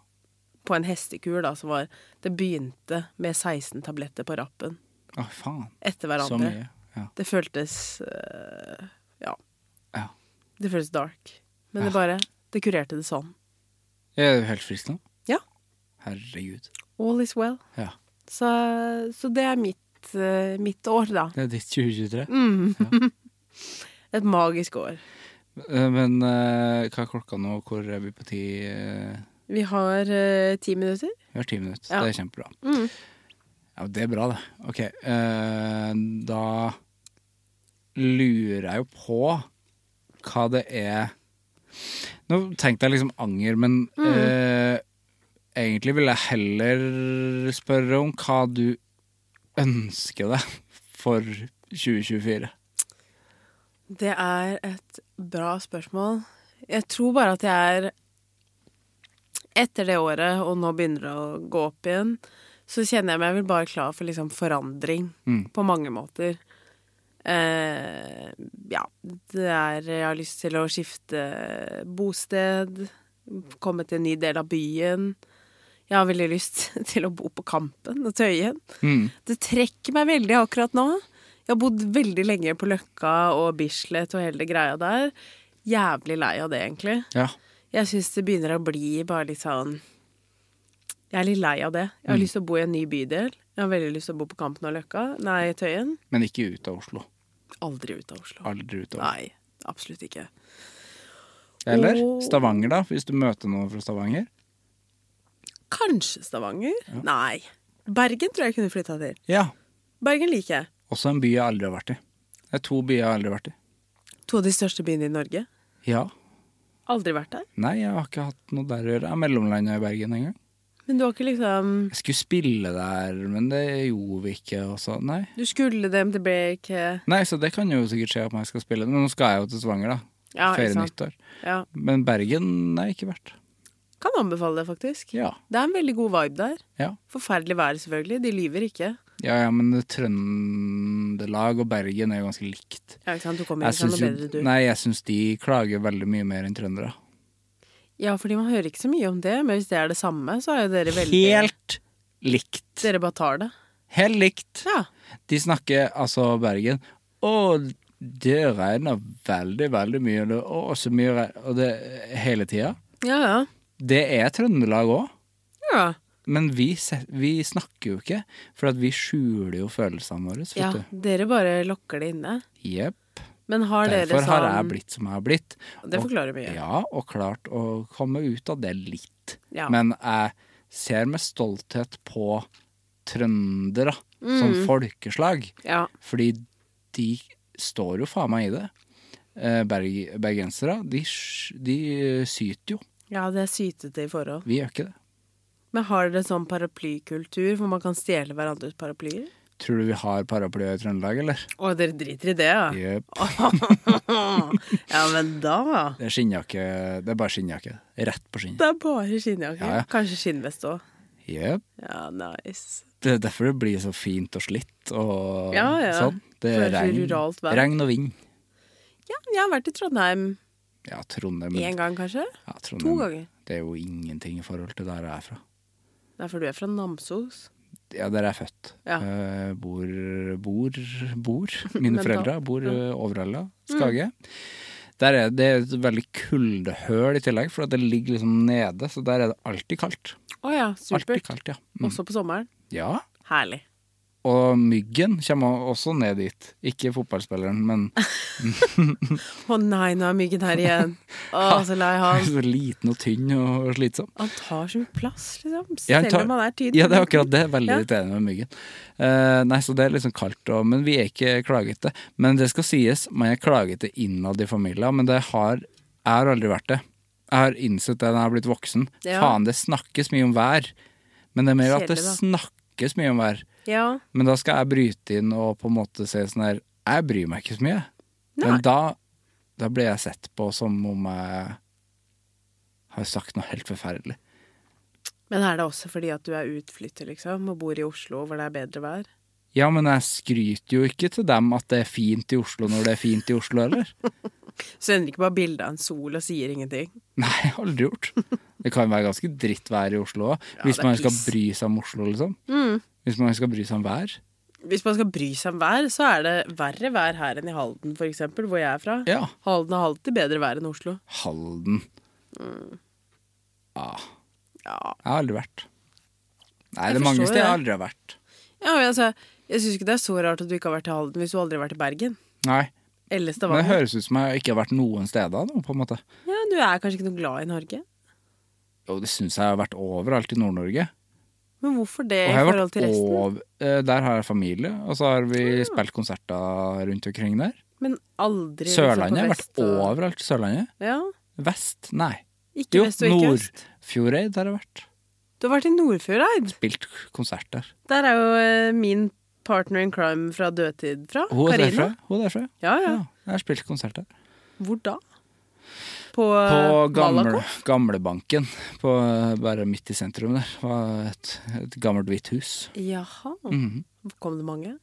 S3: På en hestekur, da, som var Det begynte med 16 tabletter på rappen
S2: Å, faen. Så
S3: etter hverandre.
S2: mye. Ja.
S3: Det føltes eh, Ja.
S2: ja.
S3: Det føltes dark. Men det bare Det kurerte det sånn.
S2: Er du helt frisk nå?
S3: Ja.
S2: Herregud.
S3: All is well.
S2: Ja.
S3: Så, så det er mitt, eh, mitt år, da.
S2: Det er ditt 2023.
S3: Et magisk år.
S2: Eh, Men eh, hva er klokka nå? Hvor er vi på ti? eh?
S3: Vi har eh, ti minutter.
S2: Vi har ti minutter.
S3: Ja.
S2: Det er kjempebra. Ja, det er bra, det. Ok. eh, da lurer jeg jo på hva det er Nå tenkte jeg liksom anger, men eh, egentlig vil jeg heller spørre om hva du ønsker deg for 2024.
S3: Det er et bra spørsmål. Jeg tror bare at jeg er Etter det året, og nå begynner det å gå opp igjen, så kjenner jeg meg vel bare klar for liksom forandring
S2: Mm.
S3: på mange måter. Eh, ja, det er Jeg har lyst til å skifte bosted, komme til en ny del av byen. Jeg har veldig lyst til å bo på Kampen og Tøyen. Det trekker meg veldig akkurat nå. Jeg har bodd veldig lenge på Løkka og Bislett og hele greia der. Jævlig lei av det, egentlig.
S2: Ja.
S3: Jeg syns det begynner å bli bare litt sånn Jeg er litt lei av det. Jeg har lyst til å bo i en ny bydel. Jeg har veldig lyst til å bo på Kampen og Løkka. Nei, Tøyen.
S2: Men ikke ut av Oslo.
S3: Aldri ut av Oslo.
S2: Aldri ut av Oslo.
S3: Nei, absolutt ikke.
S2: Eller
S3: Åh.
S2: Stavanger, da, hvis du møter noen fra Stavanger.
S3: Kanskje Stavanger? Nei. Bergen tror jeg kunne flytta til.
S2: Ja.
S3: Bergen liker jeg.
S2: Også en by jeg aldri har vært i. Det er to byer jeg aldri har vært i.
S3: To av de største byene i Norge.
S2: Ja.
S3: Aldri vært der.
S2: Nei, jeg har ikke hatt noe der å gjøre. Jeg er mellomlanda i Bergen engang.
S3: Men du har ikke liksom
S2: Jeg skulle spille der, men det gjorde vi ikke. Og så, nei.
S3: Du skulle det, men det ble ikke
S2: nei, så det kan jo sikkert skje at jeg skal spille. Men nå skal jeg jo til Stavanger, da.
S3: Ja, ikke
S2: Feire
S3: sant.
S2: nyttår.
S3: Ja.
S2: Men Bergen nei, ikke vært.
S3: Kan anbefale det, faktisk.
S2: Ja.
S3: Det er en veldig god vibe der.
S2: Ja,
S3: Forferdelig vær, selvfølgelig. De lyver ikke.
S2: ja, ja men det Trøndelag og Bergen er jo ganske likt.
S3: Ja, ikke sant? Du kommer
S2: Jeg
S3: ikke
S2: syns,
S3: noe
S2: jo,
S3: bedre, du.
S2: nei, jeg syns de klager veldig mye mer enn trøndere.
S3: Ja, fordi man hører ikke så mye om det, men hvis det er det samme, så er jo dere veldig
S2: Helt likt.
S3: Dere bare tar det.
S2: Helt likt.
S3: Ja.
S2: De snakker altså Bergen Og det regner veldig, veldig mye, og det- og så mye regn, og det hele tida.
S3: Ja, ja.
S2: Det er Trøndelag òg.
S3: Ja.
S2: Men vi, se- vi snakker jo ikke, for at vi skjuler jo følelsene våre. vet
S3: ja.
S2: du.
S3: Dere bare lokker det inne.
S2: Jepp.
S3: Men har dere
S2: Derfor
S3: sånn
S2: har jeg blitt som jeg har blitt.
S3: Det forklarer mye.
S2: Og, ja, og klart å komme ut av det litt.
S3: Ja.
S2: Men jeg ser med stolthet på trøndere som
S3: Mm.
S2: folkeslag,
S3: Ja.
S2: fordi de står jo faen meg i det. Eh, Berg, bergensere, de, sj- de eh, syter jo.
S3: ja, det er sytete i forhold.
S2: Vi gjør ikke det.
S3: Men har dere sånn paraplykultur hvor man kan stjele hverandres paraplyer?
S2: Tror du vi har paraplyer i Trøndelag, eller?
S3: Å, dere driter i det, ja?
S2: Jepp.
S3: Ah. Ja, men da
S2: Det er skinnjakke. Det er bare skinnjakke. Rett på skinnet.
S3: Det er bare skinnjakke.
S2: Ja, ja.
S3: Kanskje skinnvest òg.
S2: Jepp.
S3: Ja, nice.
S2: Det er derfor det blir så fint og slitt og
S3: Ja, ja.
S2: sånn. Det er
S3: For ruralt
S2: regn,
S3: vær.
S2: regn og vind.
S3: Ja, jeg har vært i Trondheim
S2: Ja, Trondheim.
S3: én gang, kanskje?
S2: Ja, Trondheim.
S3: To ganger.
S2: Det er jo ingenting i forhold til der jeg er fra.
S3: Nei, for du er fra Namsos.
S2: Ja, der er jeg født.
S3: Ja.
S2: Eh, bor, bor, bor. Mine
S3: Mentalt.
S2: foreldre bor ja.
S3: Mm.
S2: overalla. Skage. Der er det er et veldig kuldehøl i tillegg, for at det ligger liksom nede. Så der er det alltid kaldt.
S3: Å ja, supert.
S2: Alltid kaldt, ja. Mm.
S3: Også på sommeren.
S2: ja.
S3: Herlig.
S2: Og myggen kommer også ned dit. Ikke fotballspilleren, men
S3: Å nei, nå er myggen her igjen. Å, så lei han.
S2: så liten og tynn og slitsom.
S3: Han tar så mye plass, liksom.
S2: Ja,
S3: Selv
S2: tar-
S3: om han er tynn.
S2: Ja, det er akkurat det. Veldig
S3: Ja.
S2: irriterende med myggen. Eh, nei, så det er liksom kaldt, og, men vi er ikke klagete. Men det skal sies, man er klagete innad i familien, men det har, jeg har aldri vært det. Jeg har innsett det når jeg har blitt voksen.
S3: Ja.
S2: Faen, det snakkes mye om vær. Men det er mer at det
S3: Kjedelig,
S2: snakkes mye om vær.
S3: Ja.
S2: Men da skal jeg bryte inn og på en måte si sånn her Jeg bryr meg ikke så mye. Men da, da blir jeg sett på som om jeg har sagt noe helt forferdelig.
S3: Men er det også fordi at du er utflytter, liksom, og bor i Oslo hvor det er bedre vær?
S2: Ja, men jeg skryter jo ikke til dem at det er fint i Oslo når det er fint i Oslo, eller?
S3: Sender ikke bare bilde av en sol og sier ingenting.
S2: Nei, jeg har aldri gjort. Det kan være ganske dritt vær i Oslo òg, hvis
S3: det er
S2: man skal
S3: piss. Mm.
S2: bry seg om Oslo, liksom. Hvis man skal bry seg om vær.
S3: Hvis man skal bry seg om vær, så er det verre vær her enn i Halden, for eksempel, hvor jeg er fra.
S2: Ja.
S3: Halden har alltid bedre vær enn Oslo.
S2: Halden.
S3: Mm. Ja,
S2: Jeg har aldri vært. Nei,
S3: Jeg
S2: det er mange
S3: forstår
S2: steder jeg
S3: det.
S2: aldri har vært.
S3: ja men altså, jeg syns ikke det er så rart at du ikke har vært i Halden hvis du aldri har vært i Bergen.
S2: Nei.
S3: Eller
S2: Men det
S3: Stavanger.
S2: høres ut som jeg ikke har vært noen steder nå, på en måte.
S3: Ja, du er kanskje ikke noe glad i Norge?
S2: Jo, det syns jeg har vært overalt i Nord-Norge.
S3: Men hvorfor det
S2: Og
S3: i
S2: jeg har
S3: forhold
S2: vært
S3: til resten?
S2: over, eh, der har jeg familie, og så har vi spilt konserter rundt omkring der.
S3: Men aldri liksom,
S2: Sørlandet. Jeg
S3: på
S2: har
S3: vest
S2: vært
S3: og-
S2: overalt i Sørlandet.
S3: Ja,
S2: Vest? Nei.
S3: Ikke
S2: Jo,
S3: vest og ikke øst.
S2: Nordfjordeid har jeg vært.
S3: Du har vært i Nordfjordeid.
S2: Spilt konsert der.
S3: Der er jo eh, min partner in crime fra dødtid fra.
S2: Hun er derfra.
S3: Karina.
S2: Hun er derfra.
S3: Ja, ja.
S2: Ja, jeg har spilt konsert der.
S3: Hvor da? På,
S2: På
S3: eh,
S2: gamle,
S3: Malakoff?
S2: Gamlebanken, på, eh, bare midt i sentrum der. Det var et, et gammelt hvitt hus.
S3: Jaha.
S2: Mhm.
S3: Kom det mange?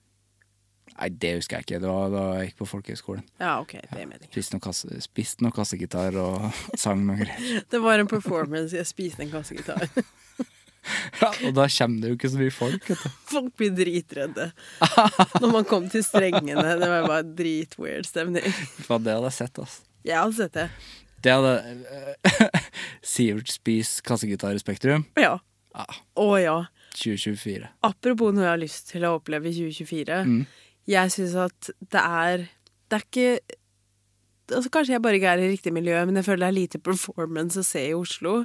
S2: Nei, det husker jeg ikke. Det var da jeg gikk på folkehøgskolen.
S3: Ja, OK. Det er meningen.
S2: Spiste noe, kasse, spist noe kassegitar og sang noe greier.
S3: Det var en performance i å spise en kassegitar.
S2: Ja, og da kommer det jo ikke så mye folk. Vet du.
S3: Folk blir dritredde. Når man kom til strengene. Det var bare dritweird stemning.
S2: Faen, det hadde jeg sett, altså.
S3: Jeg har sett det.
S2: Det hadde Sivert Spies kassegitar i Spektrum.
S3: Ja.
S2: Ja,
S3: Å ja.
S2: 2024.
S3: Apropos noe jeg har lyst til å oppleve i 2024. Jeg syns at det er Det er ikke altså Kanskje jeg bare ikke er i riktig miljø, men jeg føler det er lite performance å se i Oslo.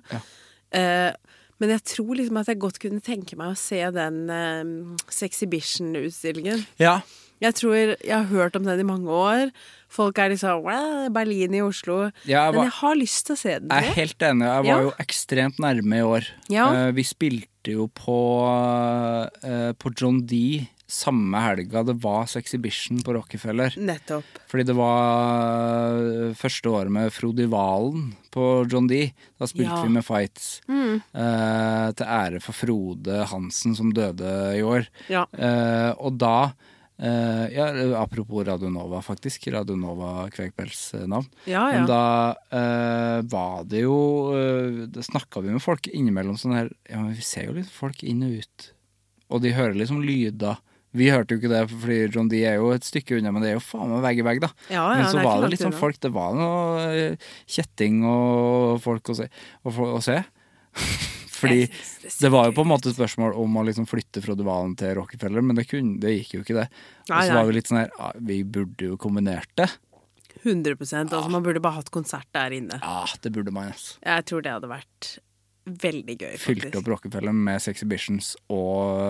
S3: Eh, men jeg tror liksom at jeg godt kunne tenke meg å se den eh, Sexhibition-utstillingen.
S2: Ja.
S3: Jeg tror Jeg har hørt om den i mange år. Folk er liksom wow, Berlin i Oslo.
S2: Ja, jeg var-
S3: Men jeg har lyst til å se den.
S2: Jeg er
S3: tror Jeg.
S2: helt enig. Jeg var
S3: Ja.
S2: jo ekstremt nærme i år.
S3: Ja.
S2: Eh, Vi spilte jo på, eh, på John D samme helga det var Sexhibition på Rockefeller.
S3: Nettopp.
S2: Fordi det var eh, første året med Frodi Valen på John D. Da spilte
S3: Ja. Mm.
S2: vi med Fights. Eh, til ære for Frode Hansen, som døde i år.
S3: Ja.
S2: Eh, og da eh, ja, Apropos Radio Nova, faktisk. Radio Nova Kvegpels eh, navn.
S3: Ja, Ah, ja.
S2: Men da eh, var det jo eh, Da snakka vi med folk innimellom sånn her Ja, men vi ser jo litt folk inn og ut. Og de hører liksom lyder. Vi hørte jo ikke det, fordi John D er jo et stykke unna, men det er jo faen meg vegg i vegg, da.
S3: Ja, ja,
S2: men så
S3: det er ikke
S2: var det
S3: langt
S2: litt sånn
S3: unna.
S2: folk Det var noe eh, kjetting og folk å se. Og, fo- å se. Fordi
S3: Jeg synes det
S2: det,
S3: ser
S2: var jo på en måte et spørsmål om å liksom flytte Frode Valen til Rockefeller, men det, kunne, det gikk jo ikke det. Og
S3: Nei,
S2: så
S3: nei.
S2: var vi litt sånn her ja, Vi burde jo kombinert det.
S3: 100 altså Man burde bare hatt konsert der inne.
S2: Ja, det burde man, altså.
S3: Jeg tror det hadde vært veldig gøy,
S2: Fylte
S3: faktisk.
S2: opp Rockefeller med Sexhibitions og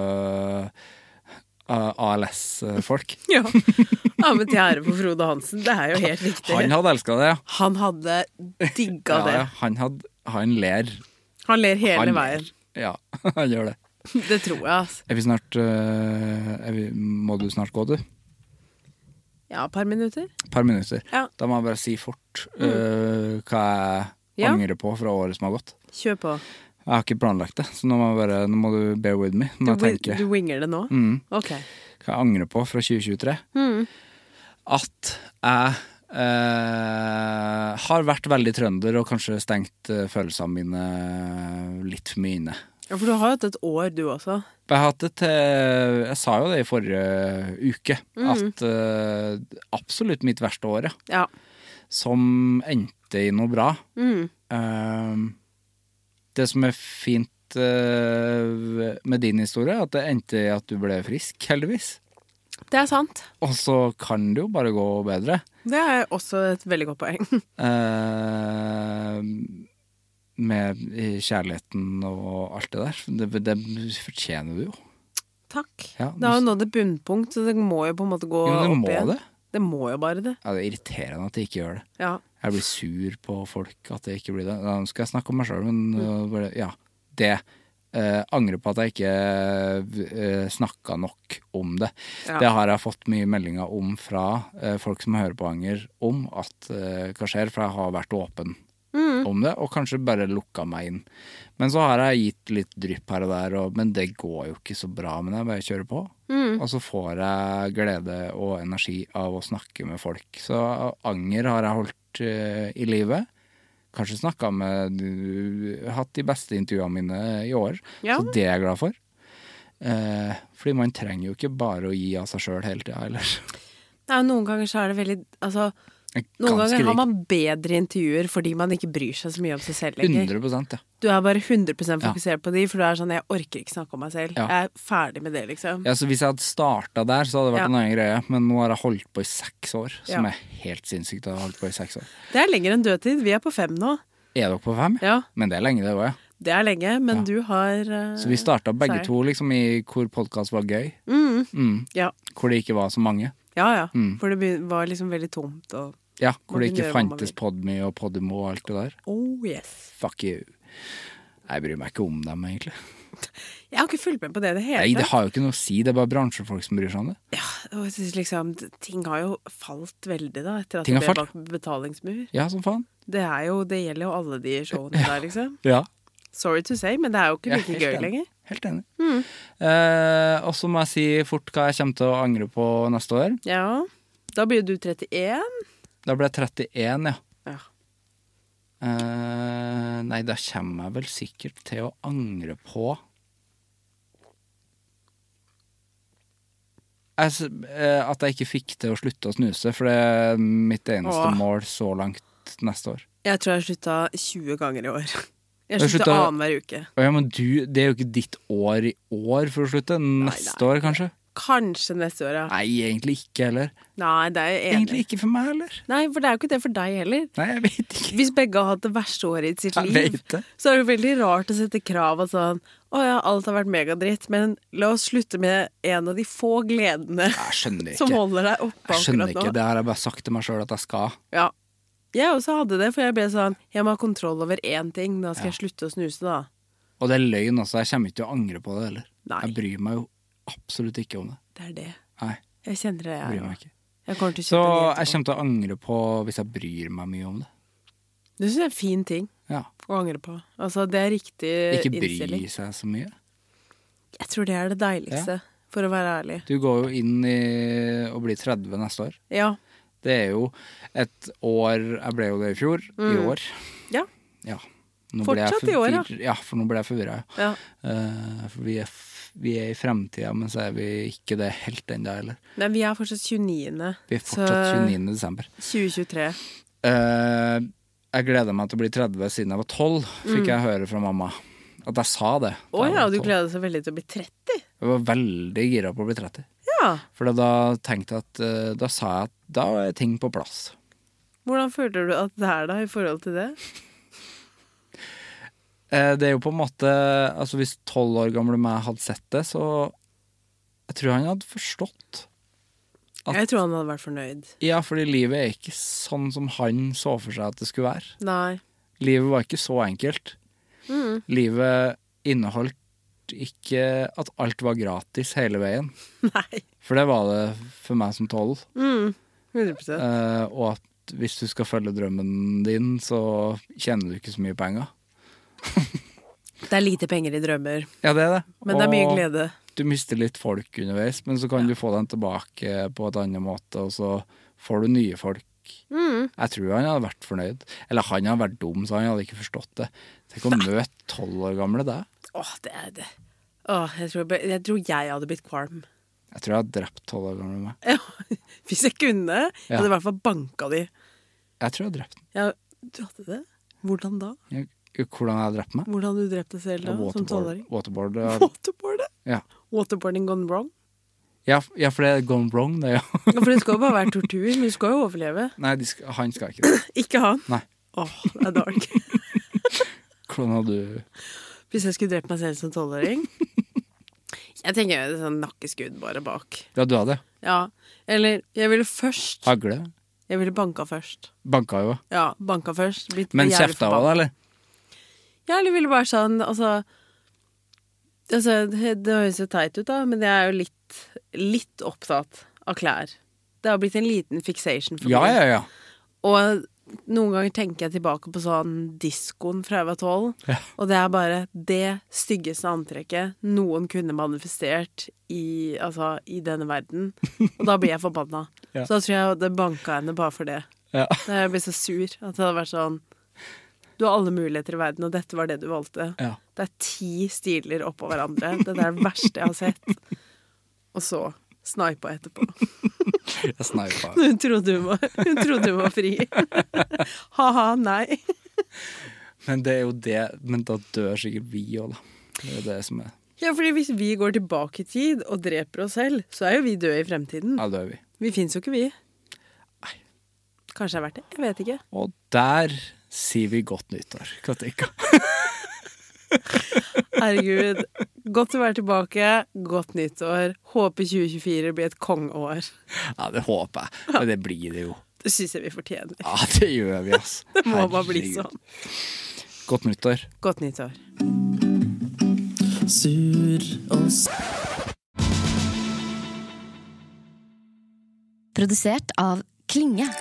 S2: eh, ALS-folk.
S3: Ja. ja, men til ære for Frode Hansen. Det er jo helt riktig.
S2: Han hadde elska det, ja.
S3: Han hadde digga
S2: ja,
S3: det.
S2: ja. Han, hadde, han ler.
S3: Han ler hele
S2: Han
S3: veien.
S2: ler. Ja, han gjør det.
S3: Det tror jeg, altså.
S2: Er vi snart eh, er vi, Må du snart gå, du?
S3: Ja, et par minutter.
S2: Et par minutter.
S3: Ja. Mm.
S2: Da må jeg bare si fort eh, hva jeg
S3: Ja.
S2: angrer på fra året som har gått.
S3: Kjør på.
S2: Jeg har ikke planlagt det, så nå må, jeg bare, nå må du bear with me.
S3: Du,
S2: Nå må jeg tenke.
S3: du winger det nå?
S2: Mm.
S3: Ok.
S2: hva jeg angrer på fra 2023, at jeg eh, har vært veldig trønder og kanskje stengt eh, følelsene mine litt for mye inne.
S3: Ja, for du har jo hatt et år, du også.
S2: Jeg, har hatt et, eh, jeg sa jo det i forrige eh, uke, at eh, absolutt mitt verste år, ja,
S3: Ja.
S2: som endte i noe bra.
S3: Mm.
S2: Eh, det som er fint eh, med din historie, er at det endte i at du ble frisk, heldigvis.
S3: Det er sant.
S2: Og så kan det jo bare gå bedre.
S3: Det er også et veldig godt poeng.
S2: Eh, med kjærligheten og alt det der. Det, det fortjener du jo.
S3: Takk.
S2: Ja,
S3: det har jo nådd et bunnpunkt, så det må jo på en måte gå
S2: Jo, det
S3: opp
S2: må
S3: igjen.
S2: det.
S3: Det må jo bare det.
S2: Ja, det er irriterende at jeg ikke gjør det.
S3: Ja.
S2: Jeg blir sur på folk at jeg ikke blir det. Nå skal jeg snakke om meg sjøl, men
S3: Mm.
S2: øh, bare, ja. Det. Eh, angrer på at jeg ikke uh, snakka nok om det.
S3: Ja.
S2: Det har jeg fått mye meldinger om fra eh, folk som hører på Anger, om at eh, hva skjer, for jeg har vært åpen
S3: Mm.
S2: om det, og kanskje bare lukka meg inn. Men så har jeg gitt litt drypp her og der, og, men det går jo ikke så bra med det. Jeg bare kjører på.
S3: Mm.
S2: Og så får jeg glede og energi av å snakke med folk. Så anger har jeg holdt eh, i livet. Kanskje snakka med du- Hatt de beste intervjuene mine i år.
S3: Ja.
S2: Så det er jeg glad for. Eh, fordi man trenger jo ikke bare å gi av seg sjøl hele tida, ellers.
S3: Nei, noen ganger så er det veldig Altså, noen ganger har man bedre intervjuer fordi man ikke bryr seg så mye om seg selv lenger.
S2: 100 ja.
S3: Du er bare 100 fokusert på de, for du er sånn 'jeg orker ikke snakke om meg selv'.
S2: Ja.
S3: Jeg er ferdig med det, liksom.
S2: Ja, så Hvis jeg hadde starta der, så hadde det vært
S3: Ja.
S2: en annen greie. Men nå har jeg holdt på i seks år, som
S3: Ja.
S2: er helt sinnssykt. å ha holdt på i seks år.
S3: Det er lenger enn dødtid. Vi er på fem nå.
S2: Er dere på fem?
S3: Ja,
S2: Men det er lenge, det òg, ja.
S3: det er lenge, men du har eh,
S2: Så vi starta begge
S3: seier.
S2: to liksom i hvor podkast var gøy.
S3: Ja,
S2: Hvor det ikke var så mange.
S3: ja. ja.
S2: Mm.
S3: For det begyn- var liksom veldig tomt og
S2: Ja, Hvor det
S3: Man
S2: ikke
S3: kunne gjøre hva man
S2: fantes
S3: vil.
S2: Podme og Podimo og alt det der.
S3: Oh yes.
S2: Fuck you. Jeg bryr meg ikke om dem, egentlig.
S3: Jeg har ikke fulgt med på det i det
S2: Nei,
S3: hele
S2: Det har jo ikke noe å si, det er bare bransjefolk som bryr seg om det.
S3: Og jeg synes liksom, ting har jo falt veldig, da, etter at
S2: Ting
S3: det
S2: har
S3: ble
S2: falt.
S3: bak betalingsmur.
S2: Ja, som faen.
S3: Det, er jo, det gjelder jo alle de showene der, liksom.
S2: Ja.
S3: Sorry to say, men det er jo ikke
S2: Ja,
S3: like
S2: helt
S3: gøy
S2: enig.
S3: lenger. Mm.
S2: Helt enig. Eh, og så må jeg si fort hva jeg kommer til å angre på neste år.
S3: Ja. Da blir jo du 31.
S2: Da ble jeg 31, ja.
S3: Ja.
S2: Eh, nei, da kommer jeg vel sikkert til å angre på jeg, s- eh, at jeg ikke fikk til å slutte å snuse, for det er mitt eneste
S3: Åh.
S2: mål så langt neste år.
S3: Jeg tror jeg har slutta 20 ganger i år. Jeg
S2: Jeg
S3: har slutta
S2: slutta-
S3: annenhver uke.
S2: Å Ja, men du, det er jo ikke ditt år i år for å slutte. Neste år, kanskje?
S3: Kanskje neste år, ja.
S2: Nei, egentlig ikke heller.
S3: Nei, det er jeg enig.
S2: Egentlig ikke for meg heller.
S3: Nei, for det er jo ikke det for deg heller.
S2: Nei, jeg vet ikke.
S3: Hvis begge har hatt det verste året i sitt
S2: Jeg
S3: liv,
S2: vet det.
S3: så er det veldig rart å sette krav og sånn Å ja, alt har vært megadritt, men la oss slutte med en av de få gledene
S2: Jeg skjønner
S3: som
S2: ikke.
S3: holder deg oppe
S2: Jeg skjønner
S3: akkurat
S2: ikke.
S3: nå.
S2: Det har jeg bare sagt til meg sjøl at jeg skal.
S3: Ja. Jeg også hadde det, for jeg ble sånn Jeg må ha kontroll over én ting, da skal jeg slutte å snuse, da.
S2: Og det er løgn, altså. Jeg kommer ikke til å angre på det heller.
S3: Nei.
S2: Jeg bryr meg jo absolutt ikke om det.
S3: Det er det.
S2: Nei,
S3: Jeg kjenner det,
S2: jeg bryr
S3: jeg.
S2: meg ikke.
S3: Jeg kommer til å
S2: Så
S3: kjøpe den
S2: jeg
S3: etterpå.
S2: kommer til å angre på hvis jeg bryr meg mye om det.
S3: Det syns jeg er en fin ting
S2: Ja.
S3: å angre på. Altså, det er riktig
S2: Ikke bry
S3: innstilling.
S2: seg så mye.
S3: Jeg tror det er det deiligste, for å være ærlig.
S2: Du går jo inn i å bli 30 neste år.
S3: Ja.
S2: Det er jo et år Jeg ble jo det i fjor. I år.
S3: Mm. Ja.
S2: Ja. Nå
S3: Fortsatt
S2: ble jeg
S3: i år, ja.
S2: forvirret- ja. For nå ble jeg forvirra. Ja.
S3: ja.
S2: Eh, for vi er, f- vi er i fremtida, men så er vi ikke det helt ennå heller.
S3: Men vi er fortsatt 29.
S2: Vi er fortsatt 29. desember.
S3: Så 2023.
S2: Eh, jeg gleder meg til å bli 30 siden jeg var 12, fikk jeg høre fra mamma. At jeg sa det. da
S3: Mm. Å
S2: jeg
S3: ja,
S2: var
S3: du
S2: 12.
S3: gleder deg så veldig til å bli 30.
S2: Jeg var veldig gira på å bli 30.
S3: Ja.
S2: For da tenkte jeg at eh, Da sa jeg at da er ting på plass.
S3: Hvordan føler du at det er da, i forhold til det?
S2: Eh, Det er jo på en måte Altså Hvis tolv år gamle meg hadde sett det, så Jeg tror han hadde forstått. At-
S3: Jeg tror han hadde vært fornøyd.
S2: Ja, fordi livet er ikke sånn som han så for seg at det skulle være.
S3: Nei.
S2: Livet var ikke så enkelt.
S3: Mm.
S2: Livet inneholdt ikke at alt var gratis hele veien.
S3: Nei.
S2: For det var det for meg som tolv.
S3: Mm. 100
S2: Eh, og at hvis du skal følge drømmen din, så tjener du ikke så mye penger.
S3: Det er lite penger i drømmer,
S2: Ja, det er det.
S3: men det er mye
S2: Og-
S3: glede.
S2: du mister litt folk underveis, men så kan du få dem tilbake på et annet måte, og så får du nye folk.
S3: Mm.
S2: Jeg tror han hadde vært fornøyd. Eller han hadde vært dum, så han hadde ikke forstått det. Tenk å møte tolv år gamle deg.
S3: Åh, det er det. Åh, jeg, tror jeg, ble- jeg tror jeg hadde blitt kvalm.
S2: Jeg tror jeg hadde drept tolv år gamle meg.
S3: Ja, Hvis jeg kunne. Jeg
S2: Ja.
S3: hadde i hvert fall banka de.
S2: Jeg tror jeg hadde drept den.
S3: Ja, du hadde det? Hvordan da?
S2: Jeg, hvordan jeg hadde drept meg?
S3: Hvordan du drepte deg selv da, som
S2: Waterboard.
S3: tolvåring?
S2: Waterboard
S3: Waterboardet?
S2: ja.
S3: Waterboarding gone wrong?
S2: Ja, f- ja, for det er gone wrong, det, ja.
S3: Ja, For det skal jo bare være tortur, men du skal jo overleve.
S2: Nei, de skal, han skal ikke det.
S3: Ikke han.
S2: Nei.
S3: Åh, det er dark.
S2: Hvordan hadde du
S3: Hvis jeg skulle drept meg selv som tolvåring Jeg tenker jo sånn nakkeskudd bare bak.
S2: Ja, du hadde
S3: Ja. Eller jeg ville først
S2: hagle.
S3: Jeg ville banka først.
S2: Banka jo.
S3: Ja, banka først. blitt
S2: Men
S3: jævlig
S2: kjefta
S3: forbanna.
S2: òg, eller?
S3: Ja, eller ville bare sånn, altså Altså, det det høres jo teit ut, da, men jeg er jo litt, litt opptatt av klær. Det har blitt en liten fixation for
S2: Ja,
S3: meg.
S2: ja, ja.
S3: Og noen ganger tenker jeg tilbake på sånn diskoen fra jeg var tolv, og det er bare det styggeste antrekket noen kunne manifestert i, altså, i denne verden. Og da blir jeg forbanna.
S2: Ja.
S3: Så da tror jeg det banka henne bare for det.
S2: ja.
S3: Da jeg ble så sur at det hadde vært sånn Du har alle muligheter i verden, og dette var det du valgte.
S2: Ja.
S3: Det er ti stiler oppå hverandre. Det er det verste jeg har sett. Og så snipa etterpå.
S2: Jeg snipa.
S3: Hun trodde hun var, hun trodde hun var fri. Ha-ha, nei.
S2: Men det er jo det Men da dør sikkert vi òg, da. Det er jo det som er
S3: Ja, fordi hvis vi går tilbake i tid og dreper oss selv, så er jo vi døde i fremtiden.
S2: Ja, dør vi.
S3: Vi fins jo ikke, vi. Kanskje det er verdt det? Jeg vet ikke.
S2: Og der sier vi godt nyttår, Katinka.
S3: Herregud. Godt å være tilbake. Godt nyttår. Håper 2024 blir et kongeår.
S2: Ja, det håper jeg. Men det blir det jo.
S3: Det syns jeg vi fortjener.
S2: Ja, det gjør vi, altså.
S3: Det må bare bli
S2: Herregud.
S3: sånn.
S2: Godt nyttår.
S3: Godt nyttår.
S5: Produsert av Klinge.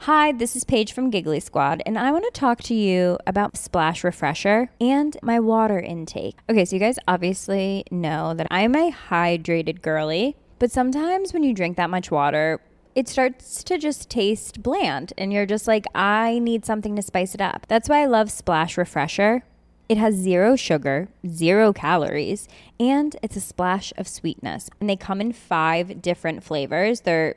S6: Hi, this is Paige from Giggly Squad, and I want to talk to you about Splash Refresher and my water intake. Okay, so you guys obviously know that I'm a hydrated girly, but sometimes when you drink that much water, it starts to just taste bland, and you're just like, I need something to spice it up. That's why I love Splash Refresher. It has zero sugar, zero calories, and it's a splash of sweetness. And they come in five different flavors. They're